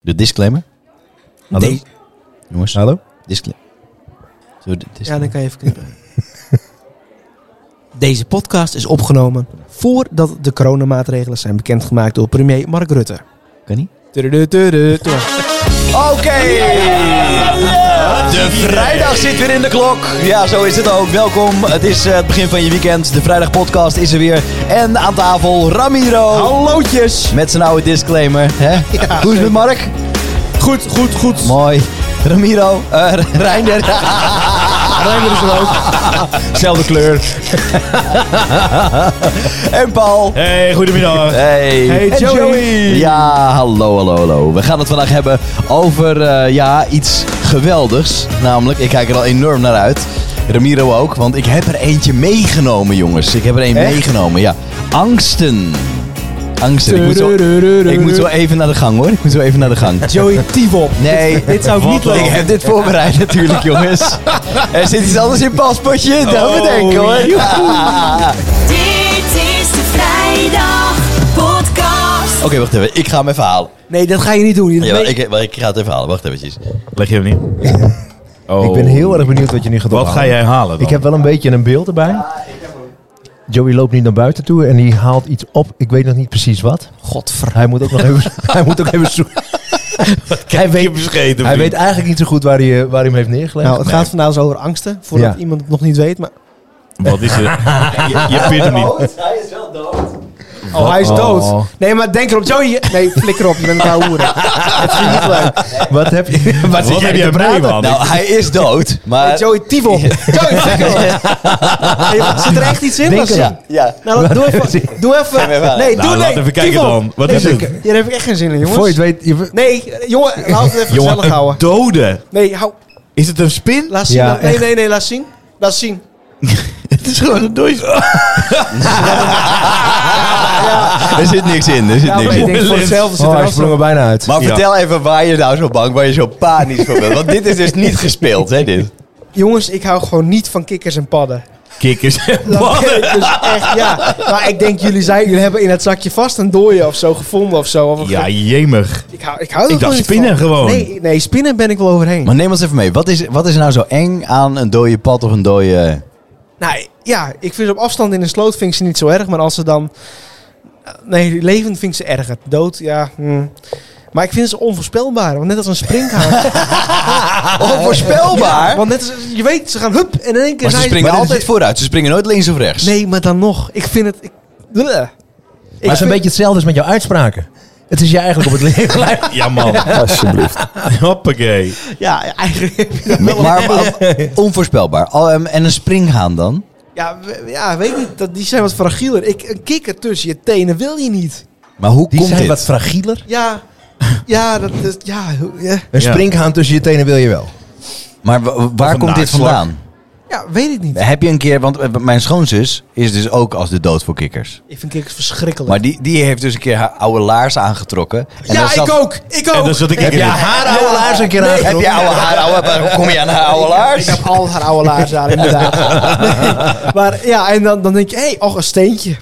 De disclaimer. Hallo? Nee. Jongens. Hallo? Discla- Zullen we de Ja, disclaimer. dan kan je even knippen. Deze podcast is opgenomen voordat de coronamaatregelen zijn bekendgemaakt door premier Mark Rutte. Kan niet. Tudu, tudu, tudu. Oké! De vrijdag zit weer in de klok. Ja, zo is het ook. Welkom. Het is eh, het begin van je weekend. De Vrijdag Podcast is er weer. En aan tafel Ramiro. Hallootjes! Met zijn oude disclaimer. Hè? Hoe is het met Mark? Goed, goed, goed. Mooi. Ramiro. eh Reinder. Rijmer is er ook. Zelfde kleur. en Paul. Hey, goedemiddag. Hey. Hey, En Joey. Ja, hallo, hallo, hallo. We gaan het vandaag hebben over eh, ja, iets geweldigs. Namelijk, ik kijk er al enorm naar uit. Ramiro ook, want ik heb er eentje meegenomen, jongens. Ik heb er één Echt? meegenomen, ja. Angsten. Angsten. Ik moet, zo, ik moet zo even naar de gang, hoor. Ik moet zo even naar de gang. Joey Tivop. Nee. Dit, dit zou ik niet Ik lopen. heb dit voorbereid natuurlijk, jongens. Er zit iets anders in het paspotje, dat we denken Oh, hoor. Dit is de Vrijdag Podcast. Oké, wacht even. Ik ga hem even halen. Nee, dat ga je niet doen. Ja, ik, ik ga het even halen. Wacht eventjes. Leg je hem niet? Oh. Ik ben heel erg benieuwd wat je nu gaat doen. Wat ga jij halen dan? Ik heb wel een beetje een beeld erbij. Joey loopt nu naar buiten toe en die haalt iets op. Ik weet nog niet precies wat. Godver. Hij moet ook nog even, hij moet ook even zoeken. hij weet, bescheten. hij weet eigenlijk niet zo goed waar hij, eh, waar hij hem heeft neergelegd. Nou, het gaat vandaag zo over angsten, voordat Ja. iemand het nog niet weet. Maar... Wat is er? Je, je pint hem niet. Hij is wel dood. Oh, hij is Oh. dood. Nee, maar denk erop, Joey. Nee, flikker op, je bent een oude hoeren. Het is niet leuk. Wat heb je? wat Wat heb jij mee, man? Nou, hij is dood, maar... Hey, Eh, Joey, Tivo. Joey, flikker op. Hey, Zit er echt iets in? Denk Bas? eraan. Ja. Nou, doe even. Doe maar waar. even. Nee, Nou, doe laat nee. even kijken Tivo. dan. Wat Nee, is ik- het? Hier heb ik echt geen zin in, jongens. Voor je het weet... je- Nee, jongen, laat het even Jongen, gezellig een houden. dode. Nee, hou. Is het een spin? Laat zien. Ja, laat- nee, echt. nee, nee, laat zien. Laat zien. Het is gewoon een doosje. Er zit niks in, er zit niks in. ik moet- denk voor Lens. hetzelfde zit Oh, er hij wel sprong zo. er bijna uit. Maar Ja. vertel even waar je nou zo bang, waar je zo panisch voor bent. Want dit is dus niet gespeeld, hè, dit. Jongens, ik hou gewoon niet van kikkers en padden. Kikkers en Dat ken ballen. ik dus echt, ja. Maar ik denk, jullie, zijn, jullie hebben in het zakje vast een dooie of zo gevonden of zo. Of een Ja, jemig. Ik hou, ik hou er Ik dacht gewoon niet spinnen van. gewoon. Nee, nee, spinnen ben ik wel overheen. Maar neem ons even mee. Wat is, wat is nou zo eng aan een dode pad of een dode... Nou ja, ik vind ze op afstand in een sloot vind ik ze niet zo erg. Maar als ze dan... Nee, levend vind ik ze erger. Dood, ja. hmm. Maar ik vind ze onvoorspelbaar. Want net als een springhaan. Onvoorspelbaar? want net als, je weet, ze gaan hup. En in één keer Oh, maar ze zijn springen Maar dat altijd vooruit. Ze springen nooit links of rechts. is- Nee, maar dan nog. Ik vind het... Ik, Bleh. Maar Ik het is een vind- beetje hetzelfde als met jouw uitspraken. Het is je eigenlijk op het leven. Ja, man. Alsjeblieft. Hoppakee. Ja, eigenlijk... Maar, maar onvoorspelbaar. Al, ehm, en een springhaan dan? Ja, we- ja weet niet. Dat, die zijn wat fragieler. Ik, een kikker tussen je tenen wil je niet. Maar hoe Die komt zijn dit? wat fragieler. Ja, ja, dat is... Ja, hoe- ja, Een Ja. springhaan tussen je tenen wil je wel. Maar wa- wa- Of waar een komt dit naaktslak. vandaan? ja, weet ik niet. Heb je een keer, want eh, mijn schoonzus is dus ook als de dood voor kikkers. Ik vind kikkers verschrikkelijk. Maar die, die heeft dus een keer haar oude laars aangetrokken. En ja, daar ik zat- ook. Ik ook. En dan zat ik Heb je in. haar oude laars een keer aan? Heb je oude haar, oude, waar kom je aan haar oude Ik laars? heb al haar oude laars aan, inderdaad. Nee, maar ja, en dan, dan denk je, hé, hey, och, een steentje.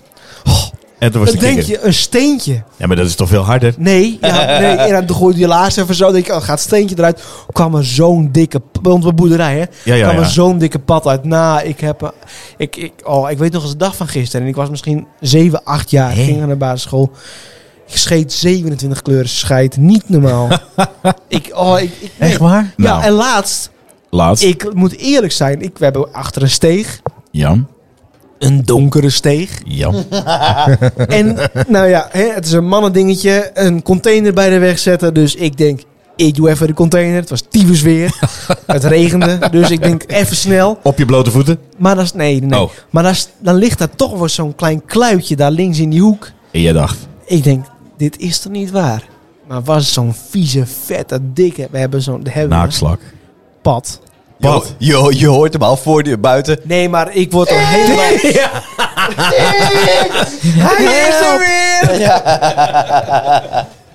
En toen was Dan de denk kikker. je, een steentje. Ja, maar dat is toch veel harder? Nee, ja, nee. En dan gooi je die laars even zo. Dan denk je, oh, gaat het steentje eruit. kwam er zo'n dikke, p- bij ons op de boerderij, hè. Ja, ja, kwam er ja. zo'n dikke pad uit. Nou, ik heb, eh, ik, ik, oh, ik weet nog eens de dag van gisteren. En ik was misschien 7, 8 jaar. Ik ging naar de basisschool. Ik scheet 27 kleuren scheid. Niet normaal. ik, oh, ik, ik, nee. Echt waar? Ja, Nou. en laatst, Laatst. ik moet eerlijk zijn. Ik, we hebben achter een steeg. Jan. Een donkere steeg. Hm. Jan. En nou ja, hè, het is een mannendingetje. Een container bij de weg zetten. Dus ik denk, ik doe even de container. Het was tyfus weer. het regende. Dus ik denk, even snel. Op je blote voeten. Maar dan, is- nee, nee. Oh. Maar dan, is- dan ligt daar toch wel zo'n klein kluitje daar links in die hoek. En jij dacht. Ik denk, dit is toch niet waar? Maar was het zo'n vieze, vette, dikke... We hebben zo'n we hebben een Naakslak. pad. Wat? Je, ho- je hoort hem al voor de buiten. Nee, maar ik word al helemaal... Hij is er weer!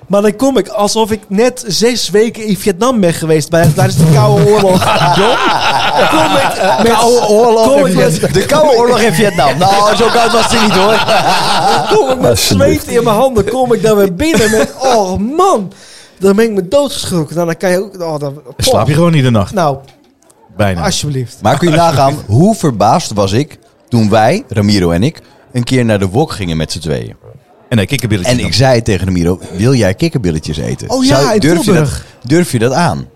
Maar dan kom ik alsof ik net zes weken in Vietnam ben geweest bij, tijdens de Koude Oorlog. Jong, dan kom ik met, Ah, Koude oorlog kom in ik Vietnam. met, De Koude Oorlog in Vietnam. Nou, zo koud was het niet hoor. Ah, kom ik met zweet in mijn handen, kom ik dan weer binnen met, oh man. Dan ben ik me doodgeschrokken. Nou, dan kan je ook... Oh, dan, Slaap je gewoon niet de nacht? Nou, Bijna. alsjeblieft. Maar kun je nagaan hoe verbaasd was ik toen wij, Ramiro en ik, een keer naar de wok gingen met z'n tweeën. En nee, kikkerbilletje. En ik zei tegen Ramiro, wil jij kikkerbilletjes eten? Oh ja, in durf, je dat, Tilburg. durf je dat aan?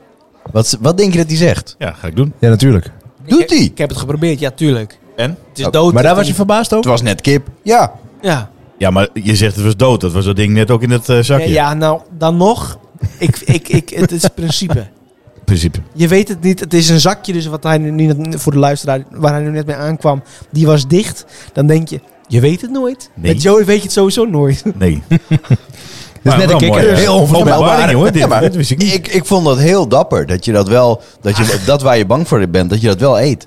Wat, wat denk je dat hij zegt? Ja, ga ik doen. Ja, natuurlijk. Doet hij? Ik heb het geprobeerd, ja, tuurlijk. En? Het is Oh, dood. Maar daar het was is je verbaasd Het over? was net kip. Ja. niet- Ja. Ja, maar je zegt het was dood. Dat was dat ding net ook in het eh, Ja, zakje. ja, nou, dan nog. Ik, ik, ik, het is het principe. In principe. Je weet het niet. Het is een zakje, dus wat hij nu niet voor de luisteraar waar hij nu net mee aankwam, die was dicht. Dan denk je, je weet het nooit. Nee. Met Joey weet je het sowieso nooit. Nee. Dat Maar is net wel een mooi, kikker. hè? Heel onvoorspelbaar. Openbaring, jongen. Dit, Ja, maar dit wist ik niet. ik, Ah. ik vond dat heel dapper. Dat je dat wel, dat, je, dat waar je bang voor bent, dat je dat wel eet.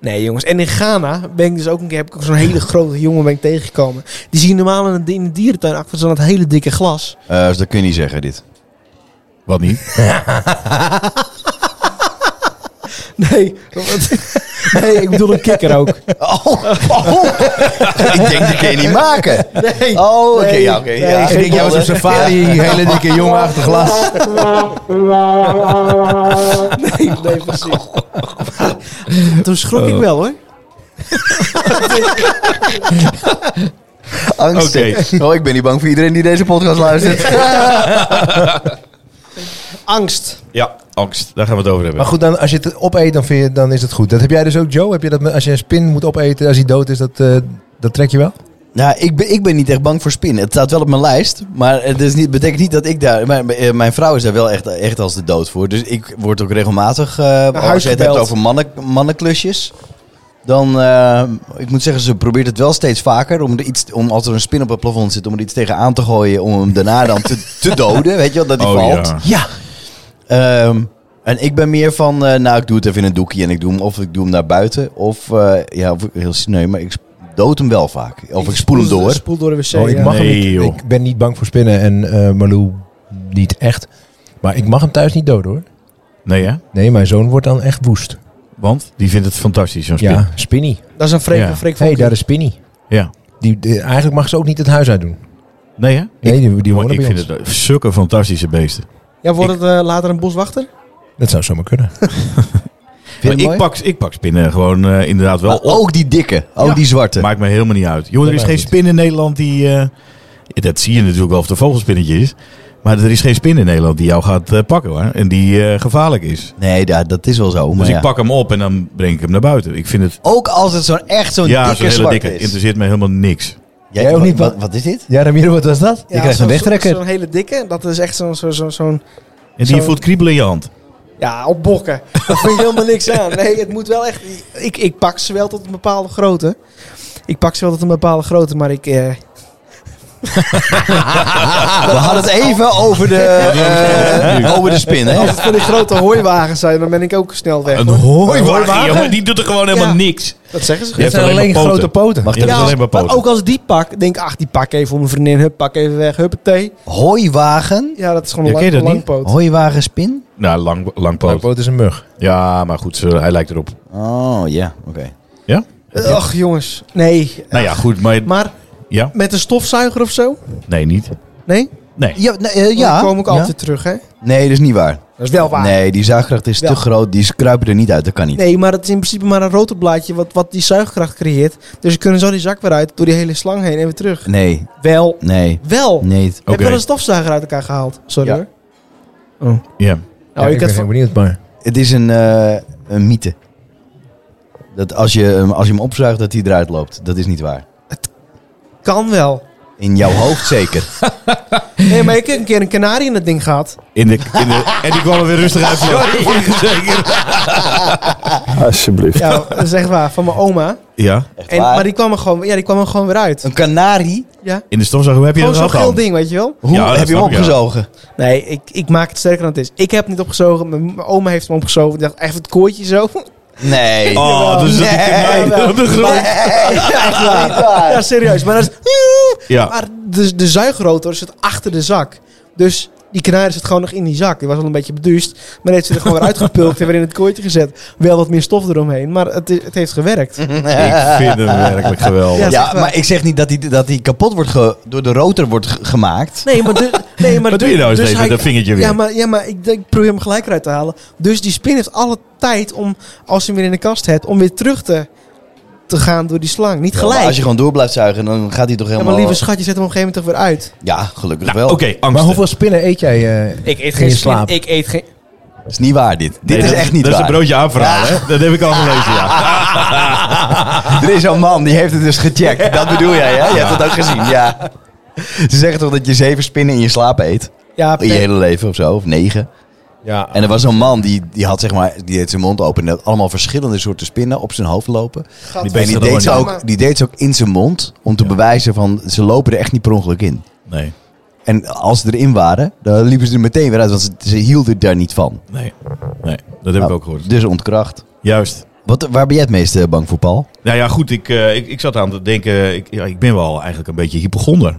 Nee, jongens. En in Ghana ben ik dus ook een keer heb ik ook zo'n hele grote jongen ben ik tegengekomen. Die zie je normaal in de, in de dierentuin achter zo'n hele dikke glas. Eh, dus dat kun je niet zeggen, dit. Wat niet? Nee, want- nee ik bedoel een kikker ook. Oh, oh. ik denk, dat kun je niet maken. Nee. Oh, oké, Nee, ja, oké. nee, ja, geen ik denk, jij was ballen. op safari, hele dikke jongen achter glas. Nee, nee, precies. Toen schrok ik wel hoor. Angstig. Oh, ik ben niet bang voor iedereen die deze podcast luistert. Angst. Ja, angst. Daar gaan we het over hebben. Maar goed, dan, als je het opeet, dan, vind je, dan is het goed. Dat heb jij dus ook, Joe? Heb je dat, met- als je een spin moet opeten, als hij dood is, dat, eh, dat trek je wel? Nou, ik ben, ik ben niet echt bang voor spinnen. Het staat wel op mijn lijst, maar het is niet, betekent niet dat ik daar... Mijn, eh, mijn vrouw is daar wel echt, echt als de dood voor. Dus ik word ook regelmatig... eh als huis je het hebt gebeld. over mannen, mannenklusjes... Dan, eh, ik moet zeggen, ze probeert het wel steeds vaker. Om, er iets, om als er een spin op het plafond zit, om er iets tegen aan te gooien. Om hem daarna dan te, te doden, weet je wel, dat hij Oh, valt. ja. Ehm, en ik ben meer van, eh, nou, ik doe het even in een doekje en ik doe hem of ik doe hem naar buiten. Of, eh, ja, of ik- heel s- nee, maar ik sp- dood hem wel vaak. Of ik spoel hem door. Spoel door de wc. Oh, ik ja. mag Nee, hem joh. niet. Ik ben niet bang voor spinnen en eh Malou niet echt. Maar ik mag hem thuis niet doden, hoor. Nee, hè? Nee, mijn zoon wordt dan echt woest. Want? Die vindt het fantastisch, zo'n spin. Ja, Spinny. Dat is een freak, Ja. een freak Hé, van hey, daar is Spinny. Ja. Die, die- eigenlijk mag ze ook niet het huis uit doen. Nee, hè? Nee, die, die Jongen, wonen ik bij vind ons. het eh, zulke fantastische beesten. Ja, wordt het eh, later een boswachter? Dat zou zomaar kunnen. Maar het ik, mooi? pak, ik pak spinnen gewoon eh, inderdaad wel Maar op. ook die dikke, ook Ja. die zwarte. Maakt me helemaal niet uit. Jongen, er Ja, is maar geen goed. spin in Nederland die... eh, dat zie je natuurlijk wel of de vogelspinnetje is. Maar er is geen spin in Nederland die jou gaat eh, pakken, hoor. En die eh, gevaarlijk is. nee, ja, dat is wel zo. Maar Dus ja. ik pak hem op en dan breng ik hem naar buiten. Ik vind het... Ook als het zo'n echt zo'n ja, dikke zo'n hele zwarte dikke. is. Interesseert me helemaal niks. Jij, Jij ook wa- niet, wa- man? wat is dit? Ja, Ramiro, wat was dat? je krijgt zo'n- een wegtrekker. Zo'n hele dikke. Dat is echt zo'n... Zo, zo, zo'n En die Zo- voelt kriebelen in je hand. ja, op bokken. Daar vind je helemaal niks aan. Nee, het moet wel echt... Ik, ik pak ze wel tot een bepaalde grootte. Ik pak ze wel tot een bepaalde grootte, maar ik... eh, We hadden het even over de, eh, over de spin, hè? als het van die grote hooiwagens zijn, dan ben ik ook snel weg. Een hoor. hooiwagen, jongen. Die doet er gewoon helemaal Ja. niks. Dat zeggen ze Je Het hebt zijn alleen alleen maar poten. grote poten. Mag Ja, dat is als- alleen maar maar poten. ook als die pak, denk ik, ach, die pak even voor mijn vriendin, hup, pak even weg, huppatee. Hooiwagen, Ja, dat is gewoon een Ja, ken je lang, dat langpoot. hooiwagen spin? Nou, lang, lang poot. Poot is een mug. Ja, maar goed, ze- hij lijkt erop. Oh, ja, oké. Ja? Ach, jongens. Nee. Nou ja, goed, maar... Maar Ja? met een stofzuiger of zo? Nee, niet. Nee? Nee. Ja, nee, eh, Ja. ja. Dan kom ik Ja. altijd terug, hè? Nee, dat is niet waar. Dat is wel waar. Nee. Nee, die zuigkracht is Wel. te groot. Die kruipen er niet uit. Dat kan niet. maar het is in principe maar een rotorblaadje wat, wat die zuigkracht creëert. Dus we kunnen zo die zak weer uit, door die hele slang heen en weer terug. Nee, Wel. nee, Wel. nee. Heb Oké. je wel een stofzuiger uit elkaar gehaald? Sorry Ja. hoor. Ja. Ja, Oh, ik, ik ben had heel van... benieuwd, maar... Het is een, eh, een mythe. Dat als je, hem- als je hem opzuigt, dat hij eruit loopt. Dat is niet waar. Kan wel. In jouw hoofd zeker. Nee, maar ik heb een keer een kanarie in dat ding gehad. In de, in de, en die kwam er weer rustig uit. Zeker. Alsjeblieft. Ja, dat is echt waar. Van mijn oma. Ja. Echt En, waar. maar die kwam, er gewoon, ja, die kwam er gewoon weer uit. Een kanarie? Ja. In de stofzuiger, hoe heb je Gewoon dat zo'n al geel gehad? ding, weet je wel? Hoe Ja, dat heb je hem snap ik, ja. opgezogen? Nee, ik, ik maak het sterker dan het is. Ik heb het niet opgezogen. Mijn, mijn oma heeft hem opgezogen. Ik dacht, even het koortje zo. Nee. Oh, dus dat Nee. ik nee, op de grond. Ja, echt waar. Ja, serieus. Maar, dat is, Ja. maar de, de zuigrotor zit achter de zak. Dus Die kanarie zit gewoon nog in die zak. Die was al een beetje beduust. Maar die heeft ze er gewoon weer uitgepulkt en weer in het kooitje gezet. Wel wat meer stof eromheen, maar het, i- het heeft gewerkt. Mhm. Ik vind hem werkelijk geweldig. Ja, Ja, zeg maar. maar ik zeg niet dat die, dat die kapot wordt ge- door de rotor wordt ge- gemaakt. Nee, maar... du- nee, maar Wat doe du- je nou eens dus even hij- met dat vingertje weer? Ja, maar, ja, maar ik, denk- ik probeer hem gelijk eruit te halen. Dus die spin heeft alle tijd om, als je hem weer in de kast hebt, om weer terug te, te gaan door die slang. Niet Ja, maar gelijk. als je gewoon door blijft zuigen, dan gaat hij toch ja, helemaal... maar lieve eh, schat, je zet hem op een gegeven moment toch weer uit. Ja, gelukkig Nou, wel. Oké, Maar angsten. hoeveel spinnen eet jij? eh, Ik eet geen spin, Ik eet geen... Dat is niet waar dit. Nee, dit is dat- echt niet Dat is waar. een broodje aanverhaal, hè? Dat heb ik al gelezen, ja. Er is zo'n man, die heeft het dus gecheckt. Dat bedoel jij, hè? Je hebt dat ook gezien, ja. Ze zeggen toch dat je zeven spinnen in je slaap eet? Ja, In je hele leven of zo, of negen. ja. En er was zo'n man, die, die had zeg maar, die deed zijn mond open... en had allemaal verschillende soorten spinnen op zijn hoofd lopen. die En beesten die dat deed, ze gewoon ook, die deed ze ook in zijn mond, om te bewijzen van... ze lopen er echt niet per ongeluk in. Nee, En als ze erin waren, dan liepen ze er meteen weer uit... want ze, ze hielden daar niet van. nee, nee. Dat Nou, heb ik ook gehoord. Dus ontkracht. Juist. Wat, waar ben jij het meest eh, bang voor, Paul? Nou ja, goed, ik, eh, ik, ik zat aan te denken, ik, ja, ik ben wel eigenlijk een beetje hypochonder.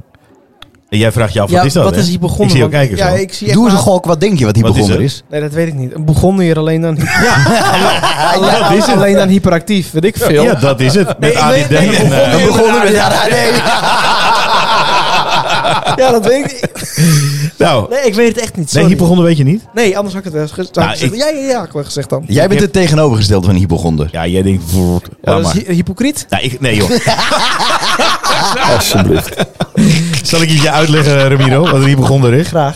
En jij vraagt je af, Ja, wat is dat? wat hè? is hier begonnen? Ik zie jou Want- kijken Ja, zo. ik zie Doe eens echt een gok, wat denk je wat hier Wat is begonnen het? is? Nee, dat weet ik niet. Een begon hier alleen dan... Ja, dat is het. alleen dan hyperactief, weet ik veel. Ja, dat is het. Met Nee, ik ADD. weet- nee, en, ik eh, begon- We begonnen met Ja, dat weet ik niet. nou, Nee, ik weet het echt niet. nee, Sorry. hypochonder weet je niet? Nee, anders had ik het wel eens gez- Nou, gezegd. ik- Ja, ja, ja, had ik wel gezegd dan. Jij bent het tegenovergestelde van hypochonder. Ja, jij denkt... Ja, laat dat is maar. hy- hypocriet. Nou, ik, nee joh. Alsjeblieft. Zal ik het je uitleggen, Ramiro, wat er hypochonder is? Graag.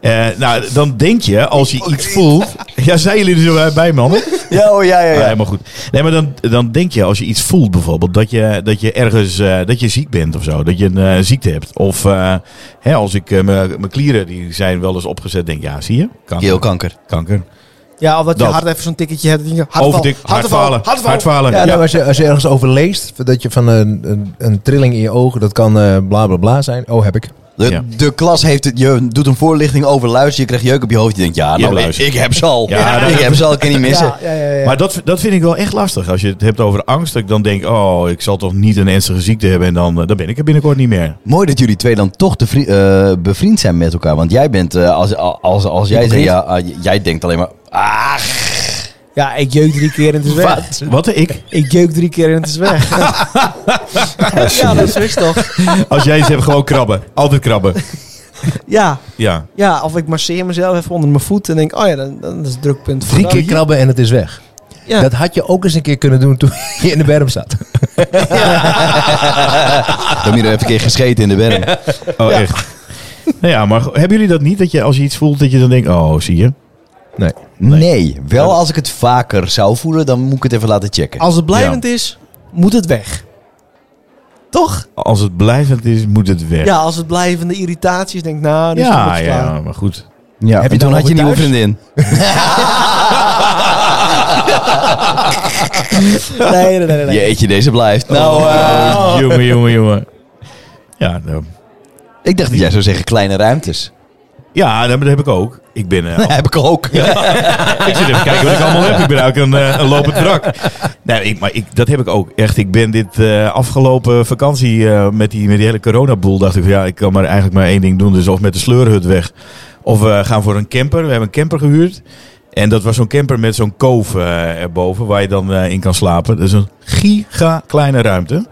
Eh, nou, dan denk je, als je iets voelt... Ja, zijn jullie er zo bij- bij, mannen? Ja, oh, ja, ja, Ja, helemaal goed. Nee, maar dan, dan denk je als je iets voelt bijvoorbeeld, dat je, dat je ergens eh, dat je ziek bent of zo. Dat je een eh, ziekte hebt. Of eh, hè, als ik eh, mijn mijn klieren, die zijn wel eens opgezet, denk ja, zie je? Kanker. Keelkanker. kanker. Ja, of dat je Dat. hard even zo'n tikketje hebt. dat je- Hartval, Overdik, hartval, hartfalen. hartval. Hartfalen. Ja, Ja, nou, als, je, als je ergens over leest, dat je van een, een, een trilling in je ogen, dat kan eh, bla bla bla zijn. Oh, heb ik. De, Ja. de klas heeft het, je doet een voorlichting over luister, je krijgt jeuk op je hoofd. Je denkt, ja, nou, ik, luister. ik heb ze al. Ja, dat- ik heb ze al, ik kan niet missen. Ja, ja, ja, ja. Maar dat, dat vind ik wel echt lastig. Als je het hebt over angst, dat ik dan denk, oh, ik zal toch niet een ernstige ziekte hebben en dan, eh, dan ben ik er binnenkort niet meer. Mooi dat jullie twee dan toch te vri- eh, bevriend zijn met elkaar. Want jij bent, eh, als, als, als jij zegt, ja, ah, j- jij denkt alleen maar, ah, ja, ik jeuk drie keer en het is weg. wat? Wat ik? Ik jeuk drie keer en het is weg. ja, dat is toch. Als jij iets hebt, gewoon krabben. Altijd krabben. Ja, Ja. ja, of ik masseer mezelf even onder mijn voet en denk, oh ja, dan, dan is het drukpunt. voor Drie dan. keer krabben en het is weg. Ja. Dat had je ook eens een keer kunnen doen toen je in de berm zat. Ramiro heeft een keer gescheten in de berm. Oh, echt. Nou ja, maar hebben jullie dat niet? Dat je als je iets voelt, dat je dan denkt, oh, zie je? Nee. Nee. wel als ik het vaker zou voelen, dan moet ik het even laten checken. Als het blijvend is, moet het weg. Toch? Als het blijvend is, moet het weg. Ja, als het blijvende irritaties denk ik, nou, dan is het ja, nog klaar. ja, maar goed. Ja, Heb en je toen dan had je een nieuwe over vriendin. Nee, nee, nee, nee. nee. Jeetje, deze blijft. Nou, eh, Oh. Jongen, jongen, jongen. Ja, nou, ik dacht dat jij zou zeggen kleine ruimtes. ja, dat dat heb ik ook. Ik ben... eh, heb ik ook. ik zit even kijken wat ik allemaal heb. Ik ben eigenlijk een, eh, een lopend wrak. Nee, ik, maar ik, dat heb ik ook. Echt, ik ben dit eh, afgelopen vakantie eh, met, die, met die hele coronaboel... dacht ik, van, ja, ik kan maar eigenlijk maar één ding doen. Dus of met de sleurhut weg. Of we gaan voor een camper. We hebben een camper gehuurd. En dat was zo'n camper met zo'n koof eh, erboven... waar je dan eh, in kan slapen. Dat is een giga kleine ruimte.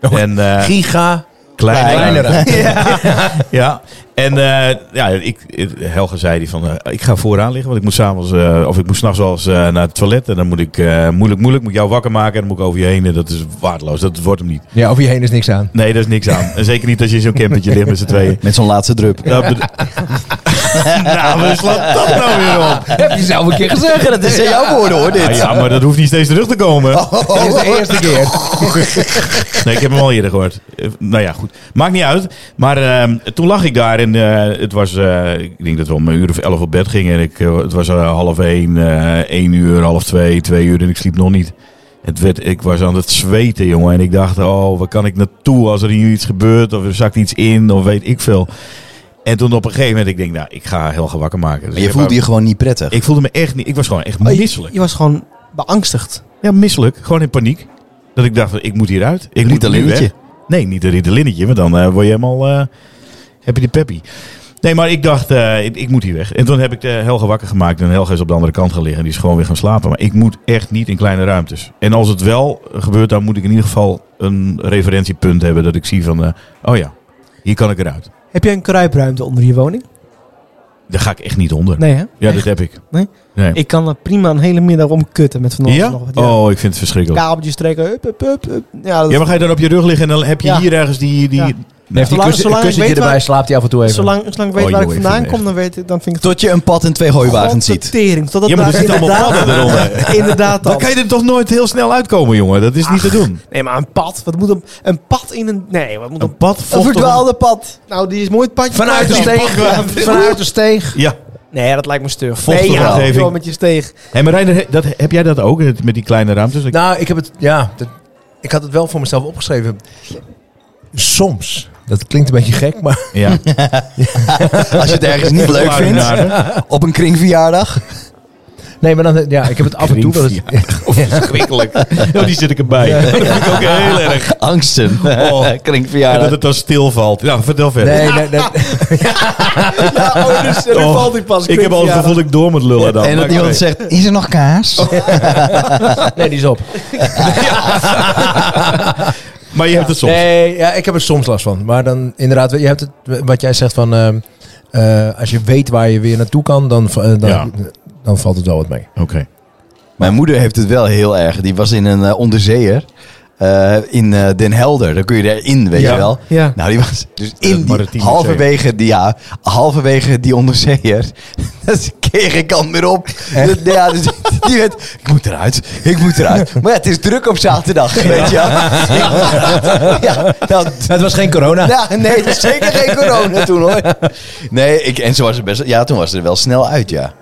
En, eh, Giga. Kleine, Kleinere. ruimte. Ja. ja. En eh, ja, ik, Helge zei die van, eh, ik ga vooraan liggen, want ik moet s'avonds, eh of ik moet s'nachts wel eens eh, naar het toilet. En dan moet ik, eh, moeilijk, moeilijk, moet ik jou wakker maken en dan moet ik over je heen. En dat is waardeloos, dat wordt hem niet. Ja, over je heen is niks aan. Nee, daar is niks aan. En zeker niet als je in zo'n campertje ligt met z'n tweeën. Met zo'n laatste drup. Dat bed- nou, maar slaat dat nou weer op? Heb je zelf een keer gezegd. dat is jouw woorden hoor, Ah, ja, maar dat hoeft niet steeds terug te komen. Dat is de eerste keer. Nee, ik heb hem al eerder gehoord. Eh, Nou ja, goed. Maakt niet uit. Maar ehm, toen lag ik daar en eh, het was, eh, ik denk dat we om een uur of elf op bed gingen. En ik, eh, het was eh, half één, eh, één uur, half twee, twee uur en ik sliep nog niet. Het werd, ik was aan het zweten, jongen. En ik dacht, oh, waar kan ik naartoe als er hier iets gebeurt? Of er zakt iets in, of weet ik veel. En toen op een gegeven moment, ik denk, nou, ik ga heel gewakker maken. Dus Je ik voelde heb- je gewoon niet prettig. Ik voelde me echt niet, ik was gewoon echt Oh, je- misselijk. Je was gewoon beangstigd. Ja, misselijk. Gewoon in paniek. Dat ik dacht, ik moet hieruit. Ik moet nu Ritalinietje. weg. Nee, niet een Ritalinnetje, want dan eh, word je helemaal... eh, heb je die peppy. Nee, maar ik dacht, eh, ik, ik moet hier weg. En toen heb ik de Helga wakker gemaakt. En Helga is op de andere kant gaan liggen. En die is gewoon weer gaan slapen. Maar ik moet echt niet in kleine ruimtes. En als het wel gebeurt, dan moet ik in ieder geval een referentiepunt hebben. Dat ik zie van, eh, oh ja, hier kan ik eruit. Heb jij een kruipruimte onder je woning? Daar ga ik echt niet onder. Nee, hè? Ja, dat heb ik. Nee? nee. Ik kan er prima een hele middag om kutten met van alles ja? nog wat. Ja. Oh, ik vind het verschrikkelijk. Kabeltjes trekken, hup, hup, hup, hup. Ja, dat- Ja, maar ga je dan op je rug liggen en dan heb je Ja. hier ergens die... die... Ja. Nee, Zolang- kus- zolang ik kussentje weet waar- erbij slaapt hij af en toe even. zolang, zolang ik weet Oh, waar ik joh, ik vandaan vind het kom, dan, weet ik, dan vind ik het Tot je een pad en twee hooiwagens ziet. Tering, totdat Ja, maar er daar zitten allemaal inderdaad- padden eronder. Inderdaad Dan al. kan je er toch nooit heel snel uitkomen, jongen. Dat is niet te doen. Nee, maar een pad. Wat moet een, een pad in een... Nee, wat moet een... pad Een verdwaalde pad. Nou, die is mooi het padje. Vanuit de kwijt dan. steeg. Vanuit de steeg. Ja. Nee, dat lijkt me stug. Vochtige Nee, ja, omgeving. joh, met je steeg. Hé, maar Reiner, he- dat, heb jij dat ook het- met die kleine ruimtes? Ik- Nou, ik heb het. Ja, dat- ik had het wel voor mezelf opgeschreven. Soms. Dat klinkt een beetje gek, maar ja. Als je het ergens niet leuk vindt. Kluizenaar. Op een kringverjaardag. nee, maar dan ja, ik heb het af en toe wel eens. Verschrikkelijk. Oh, die zit ik erbij. Dat vind ik ook heel erg. Angsten. Oh. En dat kringverjaardag. het dan stilvalt. Ja, vertel verder. Nee, nee, nee. Ja, oh, dus, nu Oh, valt hij pas. ik heb al het gevoel dat ik door moet lullen dan. En dat Maar iemand oké. zegt, is er nog kaas? Nee, die is op. Maar je hebt het soms. Nee, ja, ik heb er soms last van. Maar dan inderdaad, je hebt het, wat jij zegt van... ehm, eh, als je weet waar je weer naartoe kan, dan, va- eh, dan, Ja. dan valt het wel wat mee. Oké. Mijn moeder heeft het wel heel erg. Die was in een eh, onderzeeër. eh, in eh, Den Helder, daar kun je erin, weet Ja. je wel. Ja. Nou, die was dus het in die, maritieme halverwege, die, ja, halverwege die onderzeeër. Dat kreeg ik al meer op. Dat- ja, dus, die werd, ik moet eruit, ik moet eruit. Maar ja, het is druk op zaterdag, weet je wel. Ja, ja, nou, Het was geen corona. ja, nee, het was zeker geen corona toen hoor. Nee, ik, en zo was het best, ja, toen was het er wel snel uit, ja.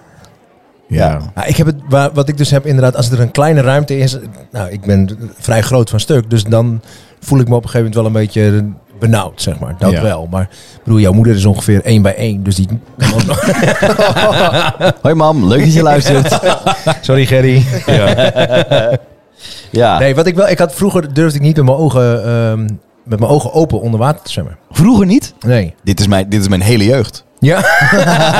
Ja. Maar Nou, ik heb het, wa- wat ik dus heb inderdaad, als er een kleine ruimte is... Nou, ik ben vrij groot van stuk, dus dan voel ik me op een gegeven moment wel een beetje benauwd, zeg maar. Dat Ja. wel, maar ik bedoel, jouw moeder is ongeveer één bij één, dus die... kan ook nog- Hoi mam, leuk dat je luistert. Sorry, Gerry. ja. Ja. Nee, wat ik wel... Ik had, vroeger durfde ik niet met mijn ogen, ehm, met mijn ogen open onder water te zwemmen. Vroeger niet? Nee. Dit is mijn, dit is mijn hele jeugd. Ja?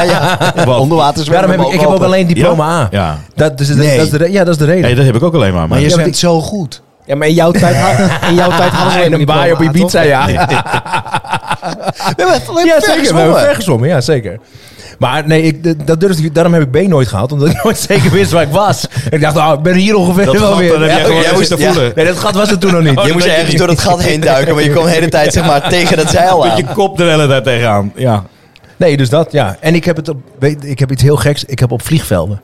ja, Wat? onderwater zwemmen. Daarom heb ik, ik heb ook alleen diploma A. Ja. Dat, dus, Nee. dat, dat is de, re- ja, dat is de reden. Nee, dat heb ik ook alleen maar. Maar Maar je Ja, want zwemt zo goed. Ja, maar in jouw tijd, had- in jouw tijd hadden we in een baai op Ibiza, ja. We hebben alleen Ja, zeker. We hebben ver gezwommen, ja, zeker. Maar nee, ik, d- dat durfde ik, daarom heb ik B nooit gehaald. Omdat ik nooit zeker wist waar ik was. Ik dacht, oh, ik ben hier ongeveer dat wel gat, weer. dan heb Ja, jij gewoon jij ergens moest- te ja. voelen. Oh, Nee, dat gat was er toen nog niet. Je moest ergens door het gat heen duiken, maar je kwam de hele tijd zeg maar, tegen dat zeil Met aan. je kop er hele tijd tegenaan. Ja. Nee, dus dat, ja. En ik heb, het op, weet, ik heb iets heel geks. Ik heb op vliegvelden.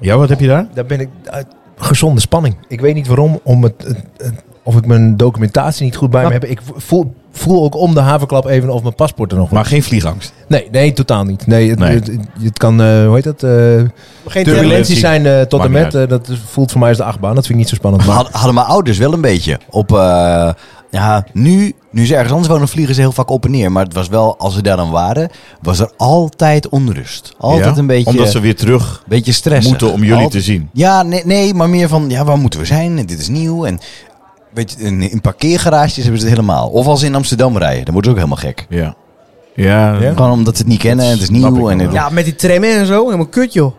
Ja, wat heb je daar? Daar ben ik... eh, gezonde spanning. Ik weet niet waarom. Om het, het- het- of ik mijn documentatie niet goed bij me heb. Ik voel, voel ook om de haverklap even of mijn paspoort er nog Maar geen vliegangst. Nee, nee, totaal niet. Nee, het, Nee. Het, het kan, eh, hoe heet dat? eh Geen turbulentie. turbulenties zijn eh, tot Maakt en niet met. eh, dat is- voelt voor mij als de achtbaan. Dat vind ik niet zo spannend. Maar Maar, had- hadden mijn ouders wel een beetje. Op, eh, ja, nu, nu ze ergens anders wonen, vliegen ze heel vaak op en neer. Maar het was wel, als ze daar dan waren, was er altijd onrust. Altijd Ja? een beetje, Omdat ze weer terug beetje stress. moeten om jullie te zien. Ja, nee, nee, maar meer van, ja, waar moeten we zijn? En dit is nieuw. En weet je, in, in parkeergarages hebben ze het helemaal. Of als ze in Amsterdam rijden, dan worden ze ook helemaal gek. Ja. Ja, Ja? Gewoon omdat ze het niet kennen en het is snap ik nieuw. nog En het- wel. Ja, met die tram en zo. Helemaal kut, joh.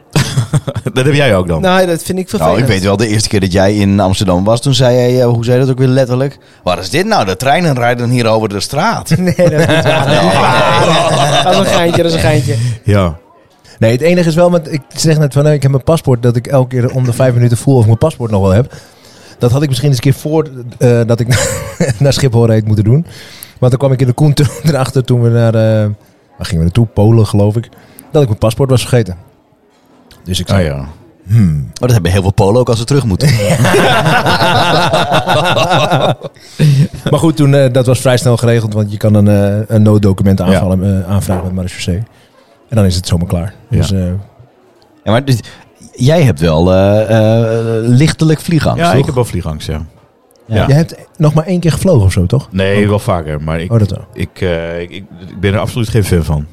dat heb jij ook dan. Nou, dat vind ik vervelend. Nou, ik weet wel, de eerste keer dat jij in Amsterdam was, toen zei jij, eh, hoe zei je dat ook weer letterlijk? Wat is dit nou? De treinen rijden hier over de straat. Nee, dat is niet waar. Dat is een geintje, dat is een geintje. Ja. nee, het enige is wel, met, ik zeg net van, eh, ik heb mijn paspoort, dat ik elke keer om de vijf minuten voel of ik mijn paspoort nog wel heb. Dat had ik misschien eens een keer voor eh, dat ik naar Schiphol reed moeten doen. Want dan kwam ik in de Koenten erachter toen we naar, eh, waar gingen we naartoe? Polen, geloof ik. Dat ik mijn paspoort was vergeten. Dus ik zei, Ah ja. Maar dat hebben heel veel Polen ook als ze terug moeten. Maar goed, toen, eh, dat was vrij snel geregeld, want je kan een, eh, een nooddocument aanvallen, eh, aanvragen met marechaussee. En dan is het zomaar klaar. Ja. Dus, eh, Ja, maar dus, jij hebt wel eh, eh, lichtelijk vliegangst, Ja, toch? ik heb wel vliegangst, ja. Ja. Je hebt nog maar één keer gevlogen of zo, toch? Nee, wel vaker. Maar ik, Oh, dat wel. ik, eh, ik, ik ben er absoluut geen fan van.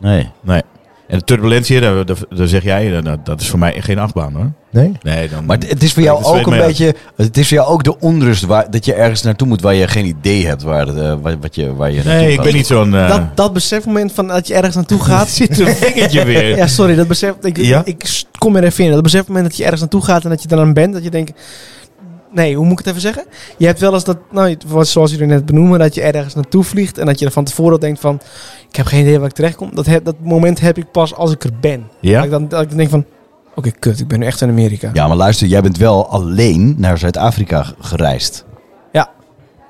Nee. Nee. En de turbulentie, daar, daar, daar zeg jij, eh, dat, dat is voor mij geen achtbaan hoor. Nee? Nee, dan, Maar het- het is voor Nee, jou dat zweet ook een mij af. beetje. Het is voor jou ook de onrust waar, dat je ergens naartoe moet waar je geen idee hebt waar, het, eh, wat, wat je, waar je naartoe Nee, ik gaat. ben niet zo'n... eh Dat, dat besefmoment van dat je ergens naartoe dat gaat. zit een vingertje weer. Ja, sorry, dat besef. Ik, Ja? ik s- kom er even in. Dat besefmoment dat je ergens naartoe gaat en dat je daaraan bent, dat je denkt. Nee, hoe moet ik het even zeggen? Je hebt wel eens dat, nou, je- wat- zoals jullie net benoemen, dat je ergens naartoe vliegt en dat je er van tevoren denkt van, ik heb geen idee waar ik terecht kom. Dat, heb, dat moment heb ik pas als ik er ben. Dat, Ja? ik dan, dat ik denk van, oké, kut, ik ben nu echt in Amerika. Ja, maar luister, jij bent wel alleen naar Zuid-Afrika g- gereisd. Ja,